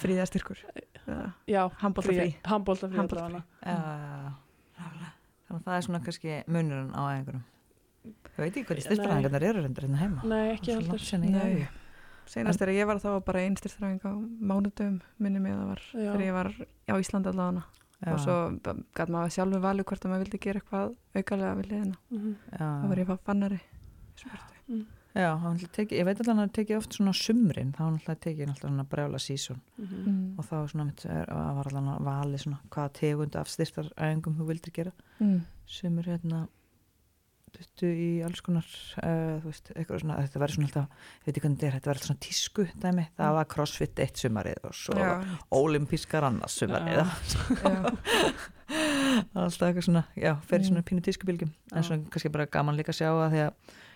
C: Fríða styrkur,
B: já,
C: handbólta frí.
B: handbólta frí
C: Handboltafrí.
A: já, já. þannig að það er svona kannski munurinn á æfingurum ég veit ekki hvernig
B: Nei.
A: styrtar æfingarnar eru reyndir hérna heima
B: nei, ekki
A: Svo langt
B: heldur
A: síðan ég
C: Nei.
A: æfi.
C: Seinast þegar ég var þá var bara einn styrstræðing á mánudum minni mig að það var
B: Já.
C: þegar ég var á Íslandi allavega og
A: Já,
C: svo gæt maður sjálfur valið hvort að maður vildi gera eitthvað aukalega við liðina
B: Mhm.
C: þá
A: já.
C: var ég bara fannari í sporti.
A: Já, hann ætli teki, ég veit alveg að hann teki oft svona á sumrin, þá hann ætlaði teki alltaf svona brjála sísón
B: Mhm.
C: mm.
A: og þá svona mitt er, var allan að vali svona hvaða tegund af styrtaræðingum þú vildir gera
C: Mm.
A: sem er hérna duttu í alls konar uh, þú veist, eitthvað svona, þetta verður svona alltaf ég veit ekki hvernig þetta er, þetta verður alltaf svona tísku dæmi, það var crossfit eitt sumarið og svo
C: Já,
A: var olimpískar annars sumarið
B: Já.
C: já,
A: Það er alltaf eitthvað svona, já, fer í svona pínu tískubilgjum
B: Já.
A: en svona kannski bara gaman líka að sjá að því að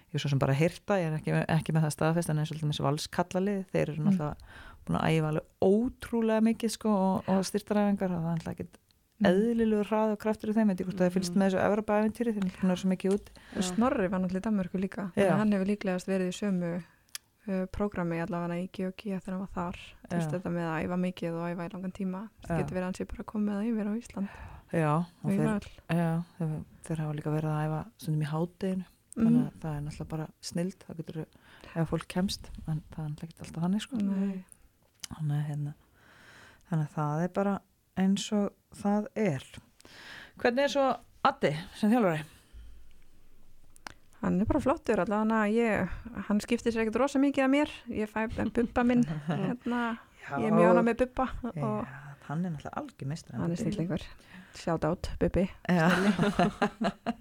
A: ég er svo sem bara að heyrta, ég er ekki, ekki með það staðfest en eins og þessi valskallalið, þeir eru
C: Mm.
A: náttúrulega búin að æfa alveg ótrúlega mikið sko og, og styrtaræfingar og það er alltaf ekkit eðlilegur hrað og kraftur í þeim, veit ég hvort það fylgst með þessu Evropa-eventýri, þeir náttúrulega eru svo mikið út
C: Og Snorri var náttúrulega í Danmörku líka
A: Já.
C: en hann hefur líklegast verið í sömu uh, prógrami allavega í GOG þegar hann var þar Þú veist,
A: Já.
C: þetta með að æfa mikið og æfa í langan tíma
A: Já.
C: það getur verið að hann sé bara komið að yfir á Ísland
A: Já, og
C: og í
A: þeir,
C: val
A: já, þeir, þeir hafa líka verið að æfa stundum í hádeginu þannig
C: Mm.
A: að það er náttúrulega bara snild, það getur ef fólk kemst, en það er náttúrulega ekki alltaf þannig sko.
C: Nei.
A: þannig að, hérna, þannig að það er bara eins og það er hvernig er svo Addi sem þjálfari
C: Hann er bara flottur allavega ég, hann skiptir sér ekkert rosa mikið að mér ég fæ bubba minn hérna, ég er mjög hana með bubba
A: Já,
C: og
A: hann er náttúrulega algjör meistar
C: hann er snillingur shout out bubbi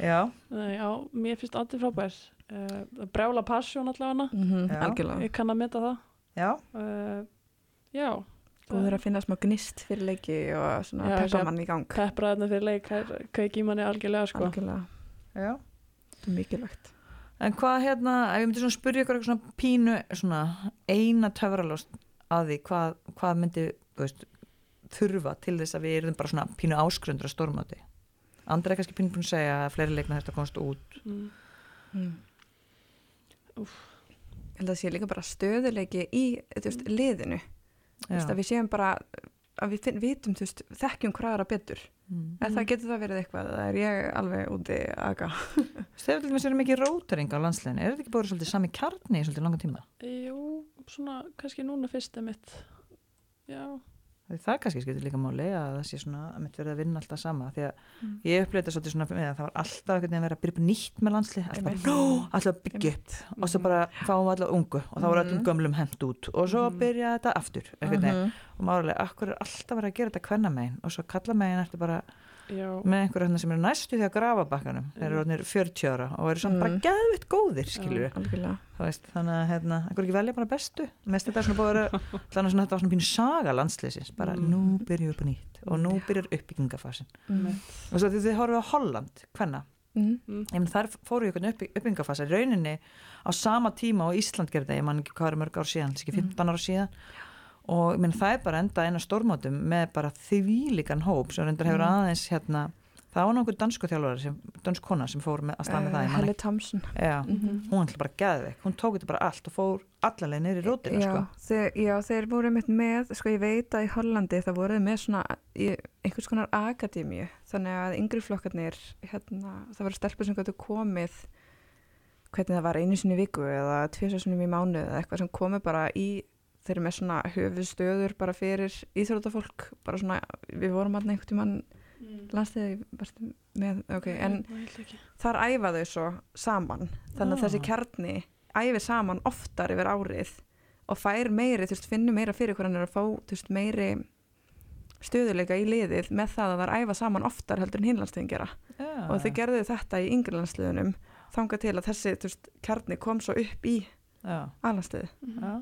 A: já,
B: Nei, já, mér finnst allir frábær uh, brjála passjón allavega
A: Já.
C: algjörlega,
B: Mhm. ég kann að meta það
A: já,
B: uh, já
C: góður að finna smá gnist fyrir leiki og svona
B: Já,
C: peppa
B: þessi-
C: mann í gang
B: peppraðna fyrir leik það er- kveik í manni algjörlega sko
C: algjörlega,
A: já
C: þetta er mikilvægt
A: en hvað hérna, ef ég myndi svona spyrja ykkur eitthvað svona pínu, svona eina töfralóst að því hvað, hvað myndi, þú veist þurfa til þess að við erum bara svona pínu áskröndur að stormáti Andri er kannski pínu búin að segja að fleiri leikna þetta komst út
B: mm.
C: mm. ég held að sé líka bara stöðuleiki í þú veist, liðinu, þú veist,
A: Já.
C: að við séum bara að við finn, vitum, þú veist, þekkjum hvað aðra betur,
A: Mm.
B: Mhm.
C: mm. það getur það verið eitthvað það er ég alveg úti að aga
A: Þegar til dæmis erum ekki rótering á landsleginu, er þetta ekki bara svolítið sami kjarni í svolítið langa tíma?
B: jú, svona kannski núna fyrst er mitt já,
A: Því Það kannski skiptir líka máli að það sé svona að mitt verið að vinna alltaf sama því að
C: Mm.
A: ég upplýði þetta svolítið svona með að það var alltaf einhvern veginn að vera að byrja upp nýtt með landslið alltaf bara,
C: Einmitt. Mm.
A: "Nó, alltaf að byggja upp og
B: Mm.
A: svo bara fáum við alltaf ungu og þá var allum
C: Mhm.
A: gömlum hent út og svo
C: Mm.
B: Mhm.
A: byrja þetta
C: Mm-hmm.
A: aftur einhvern veginn og málega, akkur er alltaf verið að gera þetta kvenna megin og svo kalla megin eftir bara Mm.
B: já,
A: með einhverja þarna sem eru næstu því að grafa bakkanum þeir eru orðnir 40 ára og eru svona
C: Mm.
A: bara geðvitt góðir skilur
C: algjörlega.
A: þú veist, þannig að hérna, einhver ekki velja bara bestu mest þetta er svona búið að vera þannig að svona- þetta var svona pínu saga landsleysins bara
B: Mm.
A: nú byrjum við upp á nýtt og nú byrjar uppbyggingafasin
B: Mhm.
C: Mm.
A: og svo því þið horfum á Holland, hvenna
C: Mm.
A: Ég meina, þar fóru ykkur upp, uppbyggingafasa í rauninni á sama tíma og Ísland gerði það, ég man ekki hvað er mörg ár síðan, kannski 15 ára síðan og minn, það er bara enda eina stórmótum með bara þvílíkan hóp sem reyndar hefur aðeins hérna það var nokkuð dansku þjálfari, sem, dansk kona sem fór með, að stað með það, ég man
C: Eh, Helle Thompson
A: ekki já,
C: Mhm.
A: hún ætla bara geðveik, hún tók þetta bara allt og fór allalega niður í rótina
C: já,
A: sko.
C: þeir, já, þeir voru einmitt með sko ég veit að í Hollandi það voru þeir með svona í, einhvers konar akademíu þannig að yngri flokkarnir hérna, það voru stelpur sem gætu komið hvernig það var einu sinni í viku eða tvisasunum í mánuð eða eitthvað sem komi bara í þeir eru með svona höfuðstöður bara fyrir íþrótafólk bara svona, við vorum alltaf einhvern tímann landsliðið, varstu með, ok, en þar æfa þau svo saman þannig að
A: Ah.
C: þessi kjarni æfi saman oftar yfir árið og fær meiri, þú veist, finnur meira fyrir hvernig er að fá, þú veist, meiri stöðuleika í liðið með það að þar æfa saman oftar heldur en hinlandsliðin gera
A: Já.
C: og þau gerðu þetta í yngri landsliðunum þangað til að þessi, þú veist, kjarni kom svo upp í
A: já,
C: alandsliði
A: já.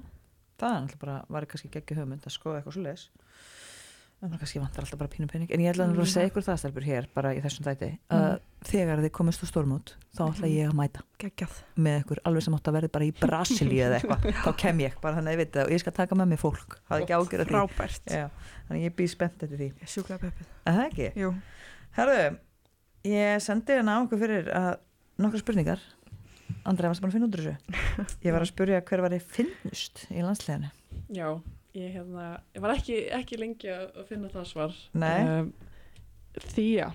A: það er alltaf bara, var kannski geggi hugmynd að skoða eitthvað svo leis en það kannski vantar alltaf bara pínu pening en ég ætla að
B: Mm.
A: segja ykkur það stelpur hér bara í þessum þætti að
C: Mm.
A: þegar þið komist úr stórmót þá ætla ég að mæta
C: geggjað
A: með ykkur alveg sem átt að verði bara í Brasilíu eða eitthvað þá kem ég bara þannig að ég veit það og ég skal taka með mig fólk það er ekki ágjör að því Eh.
C: frábært,
A: já, þannig að ég býð spennt eftir því
C: sjúklega peppið
A: að það ekki
C: Jú.
A: Herðu, ég sendi hérna á okkur fyrir að nokkra spurningar Andrei, varstu búin að finna út úr þessu? Ég var að spurja hver var ég finnust í landsleginu
B: Já, ég hérna, ég var ekki, ekki lengi að að finna það svar.
A: Nei,
B: Um, Þía,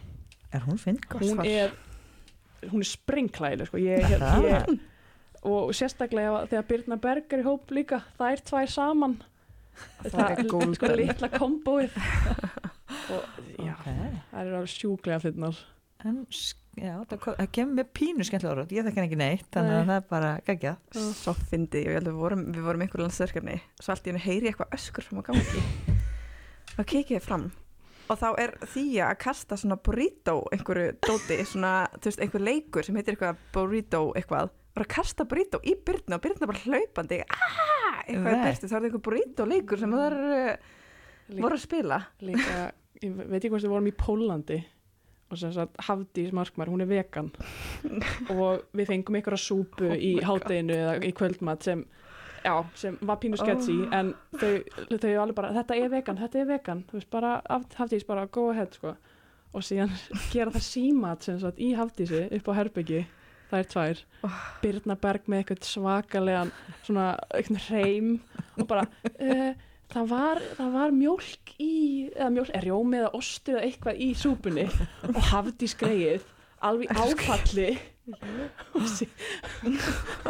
A: er hún finn?
C: Gott
B: hún
C: svar.
B: er, hún er springklæðileg, sko. Ég,
A: Er
B: ég,
A: það?
B: ég, og sérstaklega ef- þegar Birna Berg er í hóp líka, þær tvær saman.
C: Það er golden.
B: Sko litla kombóið. og já,
A: Ok.
B: þær eru alveg sjúklega finnar.
A: En, sk- já, það kom- það kemur mér pínu skemmtilega orð Ég þekki hann ekki neitt, þannig að
B: Nei.
A: það er bara geggjað
C: svo fyndi ég, ég held að við vorum, við vorum einhver landsverkefni, svo allt í henni heyri ég eitthvað öskur fram á gangi þá kikið ég fram og þá er þýja að kasta svona burrito einhverju dóti, svona, þú veist, einhver leikur sem heitir eitthvað burrito eitthvað og að kasta burrito í byrna og byrna bara hlaupandi aah, eitthvað
A: Nei.
C: er byrti, þá er það einhver burrito leikur sem það uh, voru að spila
B: líka, ég veit ekki hvort við vorum í Pólandi og sem sagt Hafdís Markmar, hún er vegan og við fengum einhverja súpu
C: Oh
B: í
C: my God.
B: hátdeinu eða í kvöldmat sem já, sem var pínu sketchy
C: Oh.
B: en þau, þau eru alveg bara, þetta er vegan, þetta er vegan þú veist bara, Haf- Hafdís bara go ahead sko. og síðan gera það símat sem sagt í Hafdísi upp á herbyggi það er tvær,
C: Oh.
B: Birna Berg með eitthvað svakalegan svona eitthvað reym og bara uh, það, var, það var mjólk í eða mjólk, er rjómi eða ostu eða eitthvað í súpunni og hafði skreið alveg í áfalli og, sí,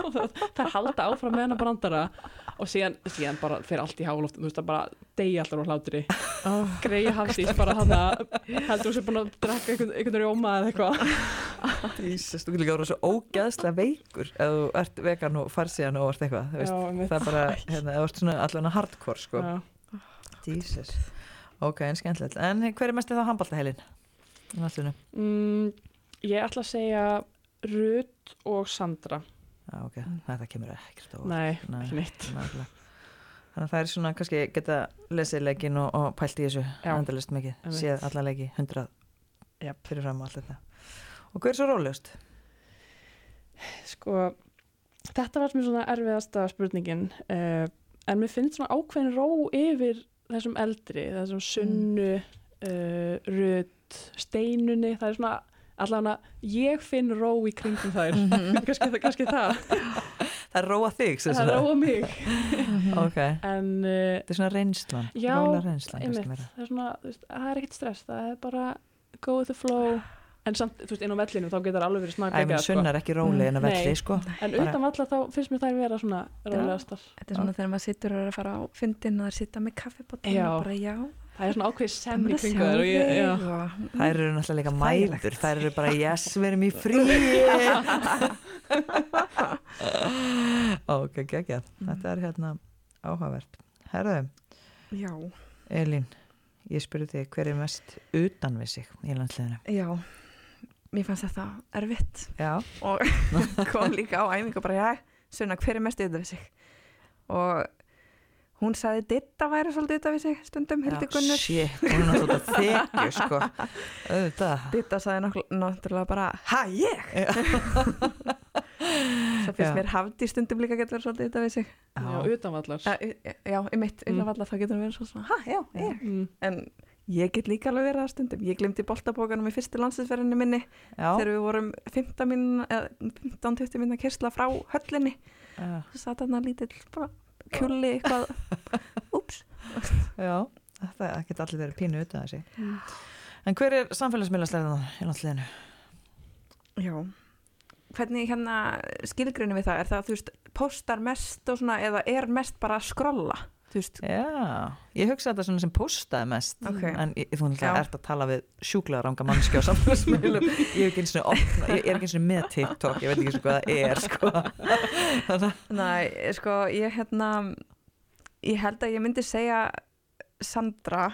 B: og það, það halda áfram með hennar brandara og síðan, síðan bara fer allt í háloft þú veist það bara degi alltaf úr hlátri
A: Ah.
C: oh.
B: greiði hafði bara hann heldur hún sem búin að drakka einhvern, einhvern rjóma eða eitthvað
A: Jesus, þú getur ekki orðið svo ógeðslega veikur ef þú ert vegan og farsiðan og orðið eitthvað þú veist.
B: Já,
A: Það er bara, hérna, ef þú ert svona allan að hardcore sko.
B: Já.
A: Jesus Ok, en skemmtilegt En hver er mest þá handbaltaheilin? Náttúrulega
B: Mm, ég ætla að segja Rut og Sandra
A: Já, Ah, ok, þetta kemur ekkert á óvart.
B: Mm. Nei,
A: Nei,
B: ekki neitt
A: nákvæmlega. Þannig að það er svona kannski geta lesið leikin og, og pælt í þessu
B: Já.
A: endalist mikið,
B: Einmitt.
A: séð alla leiki 100
B: Jep.
A: fyrir fram og allt þetta og hver er svo rólegust?
B: Sko, þetta var mér svona erfiðasta spurningin uh, en mér finnst svona ákveðin ró yfir þessum eldri, þessum sunnu uh, Rut steinunni, það er svona allavega ég finn ró í kringum þær
C: Mhm.
B: kannski, kannski það,
A: Það er róa þig, sem
B: það róa mig
A: Ok, þetta
B: en uh,
A: er svona reynslan,
B: Já,
A: róla reynslan kannski
B: einmitt,
A: meira.
B: það er svona, þú veist, það er ekkert stress það er bara go with the flow en samt, þú veist, inn á vellinu þá getur alveg verið
A: Æ, menn
B: snakka
A: sunnar ekki róli en að
B: sko. Nei.
A: velli, sko
B: en
A: bara-
B: utan valla þá finnst mér þær vera svona rálegastar
C: þetta er svona þegar maður sittur og er að fara á fyndin og það er sitta með kaffibotn
B: Já.
C: og bara já,
B: það er svona ákveð sem
C: það
B: í
C: er að sjá
B: kringu þær og ég, já,
C: þig og-
A: Þær eru náttúrulega líka
C: Þægilegt.
A: mæður, þær eru bara yes, við erum í fríi Ok,
B: Mm.
A: geggjað, þetta er hérna áhugavert Herðu,
C: já,
A: Elín, Ég spurði þig hver er mest utan við sig í landsliðinu.
C: Já, mér fannst þetta erfitt
A: Já,
C: og kom líka á æfingu og bara, já, Sunna, hver er mest yfir við sig? Og hún sagði Ditta væri svolítið yfir við sig stundum, Hildi Gunnur.
A: Shit, hún er náttúrulega þekju sko. Auðvitað.
C: Ditta sagði náttúrulega- náttúrulega bara, ha, ég?
A: Já.
C: Svo finnst
A: Já.
C: mér Hafdís stundum líka getur verið svolítið yfir við sig.
B: Já,
A: Já,
B: utanvallar.
C: Eh, Já, í mitt
B: Mm.
C: unnafalla þá getur hún verið svolítið svona, ha, já, ég.
B: Mm.
C: En ég get líka alveg verið það stundum. Ég glimti boltabókanum í fyrstu landsinsverðinu minni
A: já,
C: þegar við vorum 15 mínúna- eða 15-20 minna kyrsla frá höllinni
A: já,
C: svo satt hann að lítill bara kjúli eitthvað úps
A: já. Þetta geta allir verið pínu utan þessi. En hver er samfélagsmiðlaslæðan í landsliðinu?
C: já hvernig hérna skilgrunum við það er það þú veist postar mest og svona eða er mest bara að skrolla þú veist
A: Já, ég hugsa þetta svona sem postaði mest.
C: Ok.
A: En ég, þú náttúrulega
C: Já.
A: ert að tala við sjúklega ranga mannski á samfélagsmiðlum. Ég er ekki eins og opna, ég er ekki eins og með TikTok, ég veit ekki eins og hvað það er sko. Þannig að,
C: nei sko ég hérna ég held að ég myndi segja Sandra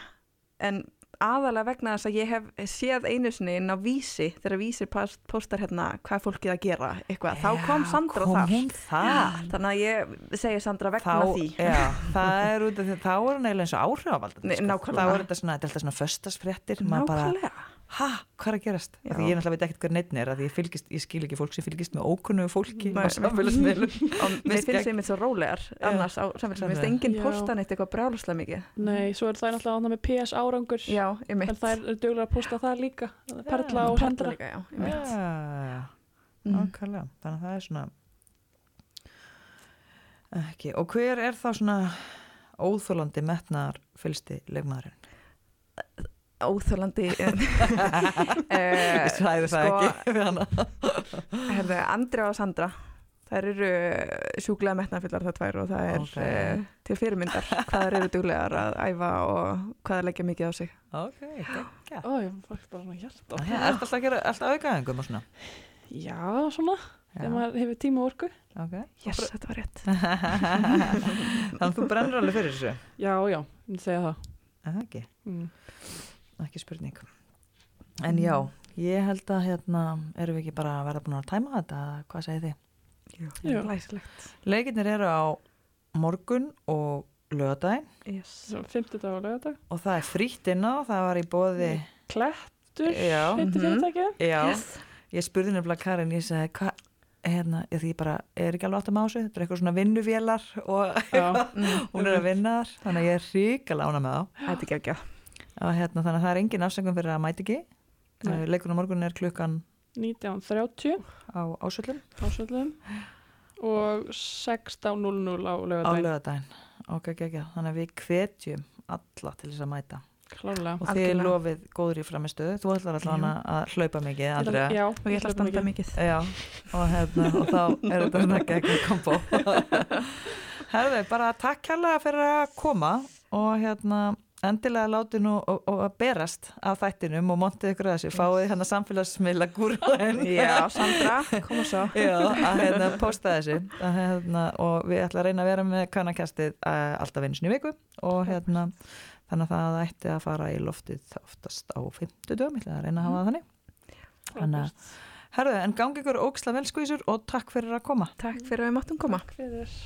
C: en aðalega vegna þess að ég hef séð einu sinni inn á vísi þegar vísi post- postar hérna hvað er fólkið að gera eitthvað þá kom
A: Já,
C: Sandra
A: kom
C: þar
A: Hún þar.
C: Ah, þannig að ég segi Sandra vegna
A: Ah. þá,
C: því
A: já, það er út af því þá er hann eiginlega eins og áhrifavald
C: Nei, nákvæmlega.
A: þá er þetta svona, þetta er alltaf svona föstasfréttir maður bara,
C: Nákvæmlega.
A: ha, hvað er að gerast
C: Já.
A: af því ég náttúrulega veit ekkert hver neitt er af því ég, fylgist, ég skil ekki fólk sem fylgist með ókunnugu fólki
C: Nei.
A: á samfélagsmiðlum
C: og mér
A: Mér
C: finnst
A: skekk.
C: þeim eitthvað rólegar annars á samfélagsmiðlum, mér finnst enginn
B: Já.
C: posta neitt eitthvað brjáluslega mikið
B: Nei, svo er það náttúrulega annað með PS árangur.
C: já, ég
B: En
C: mitt
B: það er duglega að posta það líka. Perla og Sandra.
C: líka, já, ég
A: já,
C: mitt Mhm.
A: mm. þannig að það er svona ekki, og hver er þá svona óþólandi metnar fylgsti leikmaðurinn
C: óþjólandi
A: ég
C: uh,
A: svæði það
C: Eh, sko-
A: ekki við hana
C: herðu, Andri og Sandra þær eru eh, sjúklega metnafyllar það tvær og það er
A: Ok.
C: okay. til fyrirmyndar hvað þær eru duglegar að æfa og hvað þær leggja mikið á sig
A: ok, geggja
B: Ó, ég fæk bara svona hjarta.
A: Það er alltaf að gera alltaf aukaðingum og svona
B: Já, svona.
A: Já,
B: Ef maður hefur tíma og orku.
A: ok.
C: yes, þetta var rétt
A: Þannig að þú brennur alveg fyrir þessu
B: Já, já, ég myndi segja það.
A: Er það ekki,
B: Mm.
A: ekki spurning En já, ég held að hérna erum við ekki bara að verða búin að tæma þetta eða hvað segið þið?
B: Já.
C: læsilegt
A: Leikirnir eru á morgun og lögadaginn
C: yes.
B: Svo 50 dag og lögadag.
A: og það er frítt inn á, það var í bóði
B: Klettur,
A: Já.
B: heitir
C: Mhm.
B: fyrirtækið.
A: Já,
C: yes.
A: ég spurði nefnilega Karin, ég segi hvað hérna, ég því ég bara, er ekki alveg áttum á þessu þetta er eitthvað svona vinnuvélar og
B: Já,
C: Mm,
A: hún er að vinna þar þannig að ég er ríkala ána með þá
C: þetta er ekki ekki
A: og hérna, þannig að það er engin afsöngum fyrir að mæti ekki
B: Nei.
A: Eh, leikurinn á morgun er klukkan
B: 19.30
A: á ásöllum
B: ásöldum og 16.00 á
A: á
B: lögadaginn.
A: lögadaginn ok, ok, ok, þannig að við kvetjum alla til þess að mæta
B: Klálega.
A: og þið
C: Algjörlega.
A: lofið góðri framistöðu þú ætlar allan
C: Já.
A: að hlaupa mikið
B: Ég ætla-
A: aldrei
B: Já,
C: og ég ætla að
B: hlaupa
C: standa
B: mikið.
C: mikið
A: Já, og, hérna, og þá er þetta svona gegn kombo herðu, bara takk hérlega fyrir að koma og hérna endilega láti nú og, og að berast af þættinum og montið ykkur að þessu, fáið hérna samfélagsmiðla gúrúin
C: já, Sandra, koma svo
A: Já, að hérna posta þessu að, hérna, og við ætlum að reyna að vera með kannakastið eh, alltaf einu sinni í viku og hérna þannig að það ætti að fara í loftið oftast á 50 dögum, ég ætla að reyna að hafa
C: Mhm.
A: það þannig Þannig að, herðu, en gangi ykkur óksla velskvísur og takk fyrir að koma
C: takk fyrir að við máttum koma
B: Takk fyrir.